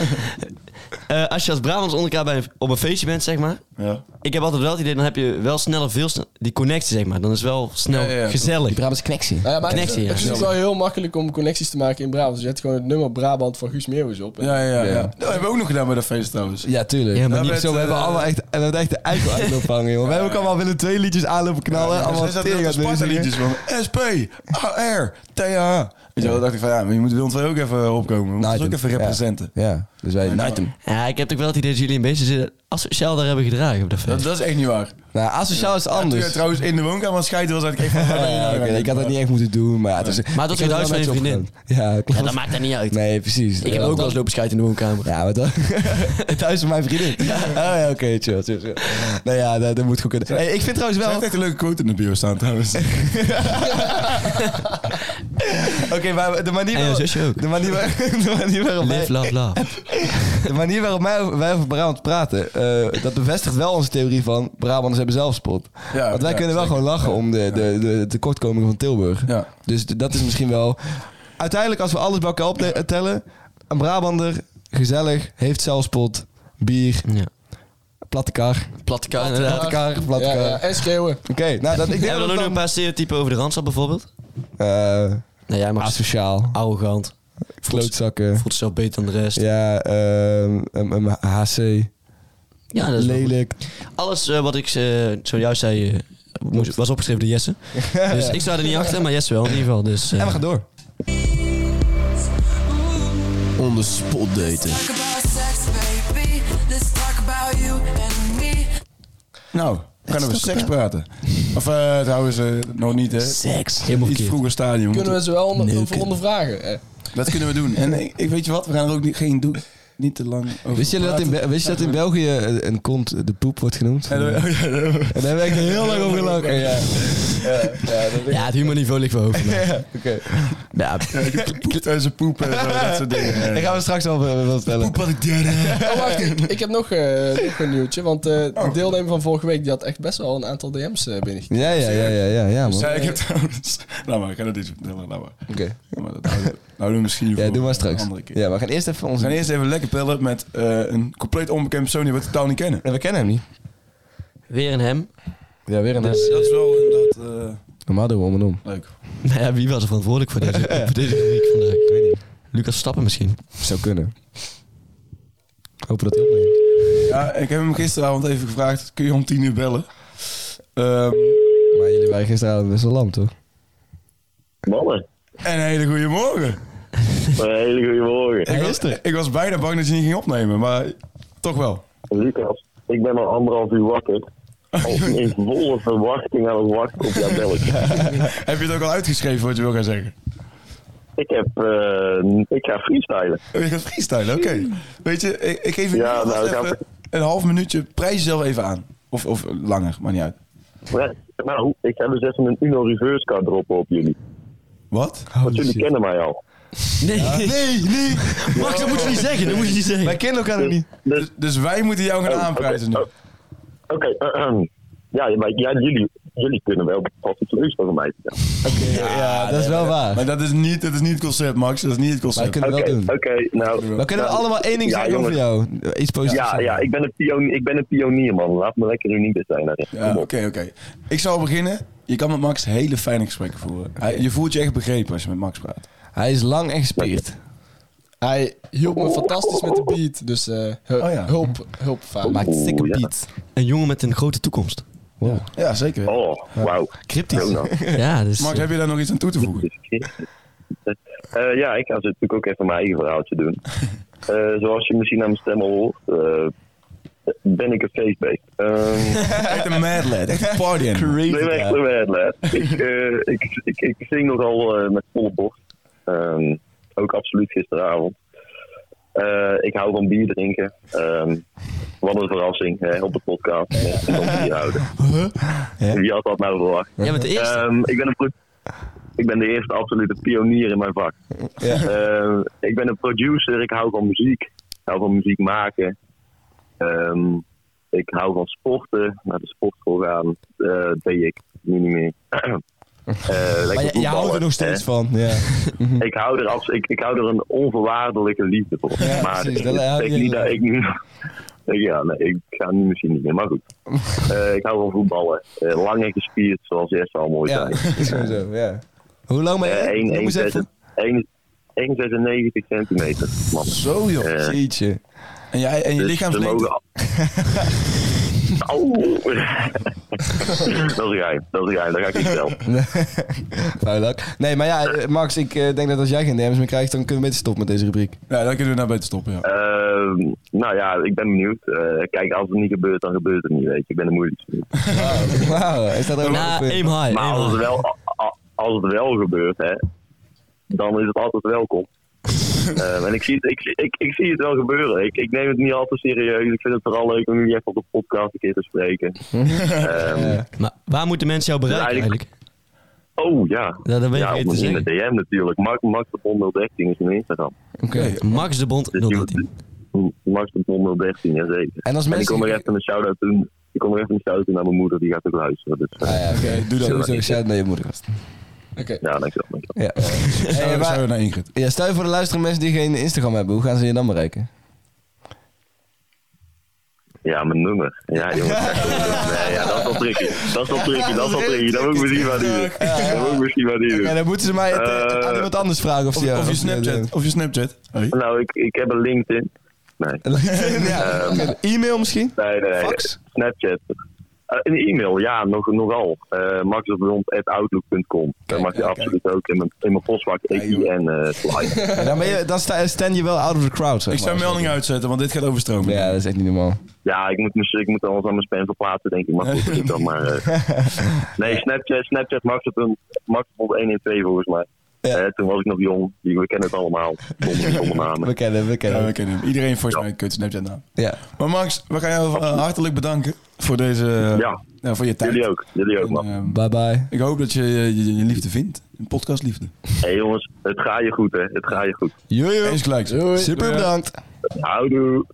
[SPEAKER 4] Eh, als je als Brabants onder elkaar bij een- op een feestje bent, zeg maar,
[SPEAKER 3] Ja.
[SPEAKER 4] ik heb altijd wel het idee, dan heb je wel sneller veel sne- die connectie, zeg maar. Dan is wel snel
[SPEAKER 3] Ja, ja, ja.
[SPEAKER 4] gezellig.
[SPEAKER 2] Die Brabants connectie.
[SPEAKER 5] Nou ja, maar
[SPEAKER 4] Connectie,
[SPEAKER 5] het,
[SPEAKER 4] ja.
[SPEAKER 5] het is ook wel heel makkelijk om connecties te maken in Brabant. Dus je zet gewoon het nummer Brabant van Guus Meeuwis op. En-
[SPEAKER 3] Ja, ja, ja.
[SPEAKER 2] Ja.
[SPEAKER 3] Dat hebben we ook nog gedaan bij dat feest trouwens.
[SPEAKER 2] Ja, tuurlijk.
[SPEAKER 4] Ja, maar
[SPEAKER 2] Nou,
[SPEAKER 4] niet
[SPEAKER 2] met,
[SPEAKER 3] zo,
[SPEAKER 2] we
[SPEAKER 3] eh,
[SPEAKER 2] hebben allemaal echt, we hebben echt de eikel uit lopen hangen, joh. We hebben ook allemaal willen twee liedjes aanlopen knallen. allemaal
[SPEAKER 3] Zij zaten
[SPEAKER 2] tering
[SPEAKER 3] dus heel
[SPEAKER 2] aan
[SPEAKER 3] te
[SPEAKER 2] het
[SPEAKER 3] Sparta
[SPEAKER 2] neus
[SPEAKER 3] liedjes van SP, AR, TH. Weet je wel, dan dacht ik van ja, maar je moet Willem 2 ook even opkomen. We moeten
[SPEAKER 2] Night
[SPEAKER 3] ons ook
[SPEAKER 2] him.
[SPEAKER 3] even representen.
[SPEAKER 2] Ja, Ja. dus wij...
[SPEAKER 3] Night
[SPEAKER 2] Night
[SPEAKER 3] him.
[SPEAKER 4] Ja, ik heb ook wel het idee dat jullie een beetje zitten asociaal daar hebben gedragen op dat
[SPEAKER 3] Dat,
[SPEAKER 4] feest.
[SPEAKER 3] dat is echt niet waar.
[SPEAKER 2] Nou, asociaal is
[SPEAKER 3] Ja, toen jij
[SPEAKER 2] anders.
[SPEAKER 3] trouwens in de woonkamer aan het scheiden was, had ik echt van...
[SPEAKER 2] Ja, ja, oké, ik had dat niet echt moeten doen, maar... Het is,
[SPEAKER 4] Maar dat
[SPEAKER 2] ik
[SPEAKER 4] is
[SPEAKER 2] heb
[SPEAKER 4] het huis
[SPEAKER 2] wel
[SPEAKER 4] van je
[SPEAKER 2] met
[SPEAKER 4] vriendin.
[SPEAKER 2] opgegaan. Ja, klopt.
[SPEAKER 4] Ja, dat maakt dat niet uit.
[SPEAKER 2] Nee, precies.
[SPEAKER 4] Ik heb ook wel eens lopen schijten in de woonkamer.
[SPEAKER 2] Ja, maar dat... het huis van mijn vriendin. Oh ja, oké, chill, chill, chill. Nou ja, dat, dat moet goed kunnen. Hey, ik vind trouwens
[SPEAKER 3] Er
[SPEAKER 2] wel...
[SPEAKER 3] heeft echt een leuke quote in de bio staan trouwens.
[SPEAKER 2] Oké, maar de manier
[SPEAKER 4] En jouw
[SPEAKER 2] waarop...
[SPEAKER 4] zusje ook.
[SPEAKER 2] De manier, waar- de manier waarop wij...
[SPEAKER 4] Live, love, love.
[SPEAKER 2] De manier waarop wij over, wij over Brabant praten, eh, dat bevestigt wel onze theorie van Brabanders hebben zelfspot.
[SPEAKER 3] Ja,
[SPEAKER 2] Want wij
[SPEAKER 3] ja,
[SPEAKER 2] kunnen wel
[SPEAKER 3] zeker.
[SPEAKER 2] gewoon lachen om de, de, de tekortkomingen van Tilburg.
[SPEAKER 3] Ja.
[SPEAKER 2] Dus d- dat is misschien wel... Uiteindelijk, als we alles bij elkaar optellen, een Brabander, gezellig, heeft zelfspot, bier,
[SPEAKER 4] Ja.
[SPEAKER 2] platte kar,
[SPEAKER 4] Platte kaart, inderdaad.
[SPEAKER 2] platte kar, platte
[SPEAKER 5] ja, eh,
[SPEAKER 2] kar.
[SPEAKER 5] ja, en schreeuwen.
[SPEAKER 2] Oké, nou, dat, ik denk
[SPEAKER 4] Hebben we
[SPEAKER 2] dat
[SPEAKER 4] dan ook nog
[SPEAKER 2] het
[SPEAKER 4] een
[SPEAKER 2] dan...
[SPEAKER 4] paar stereotypen over de Randstad bijvoorbeeld? Ah,
[SPEAKER 2] eh
[SPEAKER 4] Nee, jij mag
[SPEAKER 2] asociaal,
[SPEAKER 4] arrogant.
[SPEAKER 2] klootzakken,
[SPEAKER 4] Voelt zichzelf beter dan de rest.
[SPEAKER 2] ja, ehm, een- een HC,
[SPEAKER 4] Ja, dat is wel goed.
[SPEAKER 2] lelijk.
[SPEAKER 4] Alles eh, wat ik eh, zojuist zei eh, moest- was opgeschreven door Jesse. Dus ik sta er niet achter, maar Jesse wel in ieder geval. Dus, eh,
[SPEAKER 2] En we gaan door.
[SPEAKER 3] On the spot daten.
[SPEAKER 6] talk about sex, baby. Let's talk about you and me.
[SPEAKER 3] Nou, we gaan over seks praten. Of eh, trouwens, eh, nog niet hè.
[SPEAKER 4] seks. Helemaal
[SPEAKER 3] Iets
[SPEAKER 4] verkeerd.
[SPEAKER 3] vroeger stadium.
[SPEAKER 5] Kunnen we ze wel onder,
[SPEAKER 4] Neuken.
[SPEAKER 5] over ondervragen. Eh,
[SPEAKER 3] Dat kunnen we doen. En ik, ik weet je wat, we gaan er ook niet, geen doen. Niet te lang over
[SPEAKER 2] Wist je dat in,
[SPEAKER 3] praten.
[SPEAKER 2] Be- wist je dat in België een een kont de poep wordt genoemd? En daar
[SPEAKER 3] oh
[SPEAKER 2] heb ik heel lang over gelachen. Ja.
[SPEAKER 4] Ja, het humorniveau ligt wel hoog. vandaag.
[SPEAKER 2] Oké.
[SPEAKER 4] Ja,
[SPEAKER 3] Poep en ze poepen en zo, dat soort dingen.
[SPEAKER 2] Daar gaan we straks wel eh, wat vertellen.
[SPEAKER 3] wat ik deed.
[SPEAKER 5] Oh, wacht, ik, ik heb nog, eh, nog een nieuwtje. Want eh,
[SPEAKER 2] Oh.
[SPEAKER 5] de deelnemer van vorige week die had echt best wel een aantal DM's eh binnengekregen.
[SPEAKER 2] Ja, ja, ja, ja, ja, ja man.
[SPEAKER 3] Zei ik het trouwens. Nou maar, ik ga dat niet vertellen. Nou maar.
[SPEAKER 2] Oké.
[SPEAKER 3] Nou, maar dat houden we- houden we misschien
[SPEAKER 2] Ja,
[SPEAKER 3] voor
[SPEAKER 2] doe maar
[SPEAKER 3] een
[SPEAKER 2] straks.
[SPEAKER 3] andere keer.
[SPEAKER 2] Ja, we gaan eerst even
[SPEAKER 3] We gaan
[SPEAKER 2] onze...
[SPEAKER 3] eerst even lekker pillen met eh, een compleet onbekend persoon die we totaal niet kennen.
[SPEAKER 2] Ja, we kennen hem niet.
[SPEAKER 4] weer een hem.
[SPEAKER 2] Ja, weer een
[SPEAKER 3] Dat is wel inderdaad eh,
[SPEAKER 2] Normaal doen we om en om.
[SPEAKER 3] leuk.
[SPEAKER 4] Nou ja, wie was er verantwoordelijk voor deze, voor deze rubriek vandaag? Ik weet niet. Lucas Stappen misschien.
[SPEAKER 2] Zou kunnen. Hopen dat hij opneemt.
[SPEAKER 3] Ja, ik heb hem gisteravond even gevraagd, kun je om tien uur bellen? Ehm,
[SPEAKER 2] Maar jullie waren gisteravond best wel lam, toch?
[SPEAKER 7] Mannen,
[SPEAKER 3] en een hele goede morgen.
[SPEAKER 7] een hele goede morgen.
[SPEAKER 3] Ik was, ik was bijna bang dat je niet ging opnemen, maar toch wel.
[SPEAKER 7] Lucas, ik ben al anderhalf uur wakker. Al in volle verwachting aan het wachten op jouw belletje.
[SPEAKER 3] Heb je het ook al uitgeschreven wat je wil gaan zeggen?
[SPEAKER 7] Ik, heb, eh, ik ga freestylen.
[SPEAKER 3] Oh, Je gaat freestylen, oké.
[SPEAKER 4] Mm.
[SPEAKER 3] Weet je, ik, ik geef je
[SPEAKER 7] Ja,
[SPEAKER 3] nu alvast
[SPEAKER 7] nou, ik
[SPEAKER 3] even
[SPEAKER 7] had-
[SPEAKER 3] een half minuutje. Prijs jezelf even aan. Of, of langer, maar niet uit.
[SPEAKER 7] Maar, nou, ik ga dus even een Uno reverse card droppen op jullie.
[SPEAKER 3] Wat?
[SPEAKER 2] Oh,
[SPEAKER 7] Want jullie kennen mij al.
[SPEAKER 4] Nee, nee, nee. Max, dat moet je niet zeggen. Dat moet je niet
[SPEAKER 2] Wij
[SPEAKER 4] zeggen.
[SPEAKER 2] kennen elkaar nog niet.
[SPEAKER 7] Dus,
[SPEAKER 3] Dus, dus wij moeten jou gaan
[SPEAKER 7] oh,
[SPEAKER 3] aanprijzen
[SPEAKER 7] oké,
[SPEAKER 3] nu.
[SPEAKER 7] oh, Oké, ehem. ja, maar ja, jullie, jullie kunnen wel vast iets leuks over mij vertellen.
[SPEAKER 2] Ja, dat is wel waar.
[SPEAKER 3] Maar dat is, niet, dat is niet het concept, Max. Dat is niet het
[SPEAKER 2] Wij
[SPEAKER 3] concept.
[SPEAKER 2] kunnen wel
[SPEAKER 7] Oké,
[SPEAKER 2] doen.
[SPEAKER 7] oké, nou.
[SPEAKER 2] We kunnen
[SPEAKER 7] nou,
[SPEAKER 2] allemaal één ding
[SPEAKER 7] ja,
[SPEAKER 2] zeggen over
[SPEAKER 7] jongens.
[SPEAKER 2] jou. Iets positiefs.
[SPEAKER 7] Ja,
[SPEAKER 2] zeggen.
[SPEAKER 7] ja ik, ben een pionier, ik ben een pionier, man. Laat me lekker unieker zijn. daarin.
[SPEAKER 3] Ja,
[SPEAKER 7] Kom
[SPEAKER 3] oké,
[SPEAKER 7] op.
[SPEAKER 3] oké. Ik zal beginnen. Je kan met Max hele fijne gesprekken voeren. Hij- Je voelt je echt begrepen als je met Max praat.
[SPEAKER 2] Hij is lang en gespierd.
[SPEAKER 5] Hij hielp me fantastisch met de beat. Dus eh, hu-
[SPEAKER 3] Oh ja.
[SPEAKER 5] hulp, hulp vaak.
[SPEAKER 2] Maakt
[SPEAKER 7] Oeh,
[SPEAKER 2] stikke
[SPEAKER 7] ja.
[SPEAKER 2] beat.
[SPEAKER 4] Een jongen met een grote toekomst.
[SPEAKER 2] Wow.
[SPEAKER 3] Ja, zeker.
[SPEAKER 7] Oh, wauw.
[SPEAKER 4] Cryptisch.
[SPEAKER 7] Jonas.
[SPEAKER 4] Ja, dus...
[SPEAKER 3] Max, heb je daar nog iets aan toe te voegen?
[SPEAKER 7] Eh, ja, ik ga ze natuurlijk ook even mijn eigen verhaaltje doen. Eh, zoals je misschien aan mijn stem al hoort, eh, ben ik een feestbeest. Ehm
[SPEAKER 3] Echt een mad lad. Echt een party animal.
[SPEAKER 7] ik ben echt een mad lad. Ik, eh, ik, ik, ik zing nogal eh, met volle borst. Ehm, ook absoluut gisteravond. Eh, ik hou van bier drinken. Ehm, wat een verrassing hè, op de podcast. Mensen van bier houden. Wie had dat nou verwacht?
[SPEAKER 4] Jij bent de eerste.
[SPEAKER 7] Ehm, ik, ben een pro- ik ben de eerste absolute pionier in mijn vak. Ehm, ik ben een producer, ik hou van muziek. Ik hou van muziek maken. Ehm, ik hou van sporten, naar de sportschool gaan. Eh deed ik nu niet meer. Eh, lekker
[SPEAKER 2] Maar je, je houdt er
[SPEAKER 7] voetballen,
[SPEAKER 2] nog steeds van. Ja.
[SPEAKER 7] hè. Ik hou, er als, ik, ik hou er een onvoorwaardelijke liefde voor.
[SPEAKER 2] Ja,
[SPEAKER 7] maar
[SPEAKER 2] precies,
[SPEAKER 7] ik
[SPEAKER 2] dat hou je
[SPEAKER 7] zeg niet
[SPEAKER 2] heel
[SPEAKER 7] dat ik nu... Ik- Ja, nee, ik ga nu misschien niet meer, maar goed. Eh, ik hou van voetballen. Eh, lang en gespierd, zoals eerst al mooi Eh,
[SPEAKER 2] Ja,
[SPEAKER 7] zijn.
[SPEAKER 2] sowieso, ja. Hoe lang ben je? Noem eens even.
[SPEAKER 7] 1,96 centimeter. Man.
[SPEAKER 3] Zo joh.
[SPEAKER 7] Eh,
[SPEAKER 2] Jeetje.
[SPEAKER 3] En, jij, en je
[SPEAKER 7] dus ze
[SPEAKER 3] lichaamslengte?
[SPEAKER 7] mogen al- Au. dat is een geheim, dat is een geheim, dat ga ik niet vertellen.
[SPEAKER 2] Vuilak. Nee, maar ja, eh, Max, ik eh, denk dat als jij geen DM's meer krijgt, dan kunnen we beter stoppen met deze rubriek.
[SPEAKER 3] Ja, dan kunnen we nou beter stoppen. Ja.
[SPEAKER 7] Ehm, nou ja, ik ben benieuwd. Eh, kijk, als het niet gebeurt, dan gebeurt het niet, weet je. Ik ben de moeilijkste. niet.
[SPEAKER 2] Wauw, hij staat er ook
[SPEAKER 4] Na,
[SPEAKER 2] op, eh.
[SPEAKER 4] Nou, aim high.
[SPEAKER 7] Maar
[SPEAKER 4] aim
[SPEAKER 7] als het
[SPEAKER 4] high.
[SPEAKER 7] wel, a- a- als het wel gebeurt, hè, dan is het altijd welkom. Ehm, en ik zie, het, ik, zie- ik, ik zie het wel gebeuren. Ik, ik neem het niet al te serieus. Ik vind het vooral leuk om jullie even op de podcast een keer te spreken. Ehm,
[SPEAKER 4] Maar waar moeten mensen jou bereiken
[SPEAKER 7] Dus
[SPEAKER 4] eigenlijk?
[SPEAKER 7] eigenlijk- Oh ja.
[SPEAKER 4] Ja, dat weet ik
[SPEAKER 7] ja,
[SPEAKER 4] niet
[SPEAKER 7] op
[SPEAKER 4] te
[SPEAKER 7] mijn- in de DM natuurlijk. Mark, Max de Bond 013 is mijn Instagram.
[SPEAKER 2] Oké.
[SPEAKER 4] Max de Bond
[SPEAKER 7] Dus die-
[SPEAKER 4] 013.
[SPEAKER 7] Max de Bond 013, jazeker.
[SPEAKER 2] En als
[SPEAKER 7] ik
[SPEAKER 2] mensen...
[SPEAKER 7] kom er even een shout-out doen. Ik kom er even een shout-out doen aan mijn moeder, die gaat ook luisteren. Dus eh,
[SPEAKER 2] Ah, ja, oké.
[SPEAKER 3] Oké, doe dat.
[SPEAKER 2] Sowieso, shout naar je moeder. gast.
[SPEAKER 7] ja, dankjewel. dankjewel.
[SPEAKER 2] Ja. Hey,
[SPEAKER 3] Zo,
[SPEAKER 2] maar-
[SPEAKER 3] zo naar Ingrid.
[SPEAKER 2] ja, stel je voor de luisteren mensen die geen Instagram hebben, hoe gaan ze je dan bereiken?
[SPEAKER 7] Ja, mijn nummer. Ja, jongens. echt mijn nummer. Nee, ja, dat is wel tricky. Dat is wel tricky, dat is wel tricky. Dat moet ik misschien maar doen. Dat moet ik misschien maar niet
[SPEAKER 2] Ja,
[SPEAKER 7] doen.
[SPEAKER 2] dan moeten ze mij het, eh,
[SPEAKER 7] Eh,
[SPEAKER 2] aan iemand anders vragen of,
[SPEAKER 3] Of,
[SPEAKER 2] ze jou-
[SPEAKER 3] of je
[SPEAKER 2] ze jou
[SPEAKER 3] Snapchat.
[SPEAKER 2] doen.
[SPEAKER 3] Of je Snapchat. Hoi.
[SPEAKER 7] Nou, ik, ik heb een LinkedIn. Nee,
[SPEAKER 2] ja. E-mail misschien?
[SPEAKER 7] nee, nee. nee.
[SPEAKER 2] Fax?
[SPEAKER 7] Snapchat. Eh, een e-mail, ja, nog, nogal. eh maxopblond.outlook.com. Daar mag je absoluut ook in mijn, in mijn postvak EIN eh slide.
[SPEAKER 2] Ja, dan, ben je, dan sta, stand je wel out of the crowd. Zeg
[SPEAKER 3] Ik zou
[SPEAKER 2] maar.
[SPEAKER 3] een melding uitzetten, want dit gaat overstromen.
[SPEAKER 2] Ja, dat is echt niet normaal.
[SPEAKER 7] ja, ik moet, mis- ik moet alles aan mijn spam verplaatsen, denk ik. Maar goed, dat is dan maar... eh. nee, Snapchat, Snapchat, maxopblond Maxopblond 1 en 2 volgens mij.
[SPEAKER 2] Ja.
[SPEAKER 7] Eh, toen was ik nog jong, we kennen het allemaal. Domme, domme namen.
[SPEAKER 2] We kennen, we kennen.
[SPEAKER 3] Ja, we kennen hem. Iedereen volgens mij kut Snapchat naam.
[SPEAKER 2] Ja.
[SPEAKER 3] Maar Max, we gaan jou eh, hartelijk bedanken voor deze...
[SPEAKER 7] Ja.
[SPEAKER 3] nou, voor je tijd.
[SPEAKER 7] Jullie ook, jullie ook,
[SPEAKER 3] En,
[SPEAKER 7] man.
[SPEAKER 3] ehm,
[SPEAKER 2] Bye bye.
[SPEAKER 3] ik hoop dat je je, je- je liefde vindt. Een podcastliefde.
[SPEAKER 7] Hé hey, jongens, het gaat je goed, hè. Het gaat je goed.
[SPEAKER 2] Jojo.
[SPEAKER 3] Eens gelijk.
[SPEAKER 2] Super bedankt.
[SPEAKER 7] Houdoe.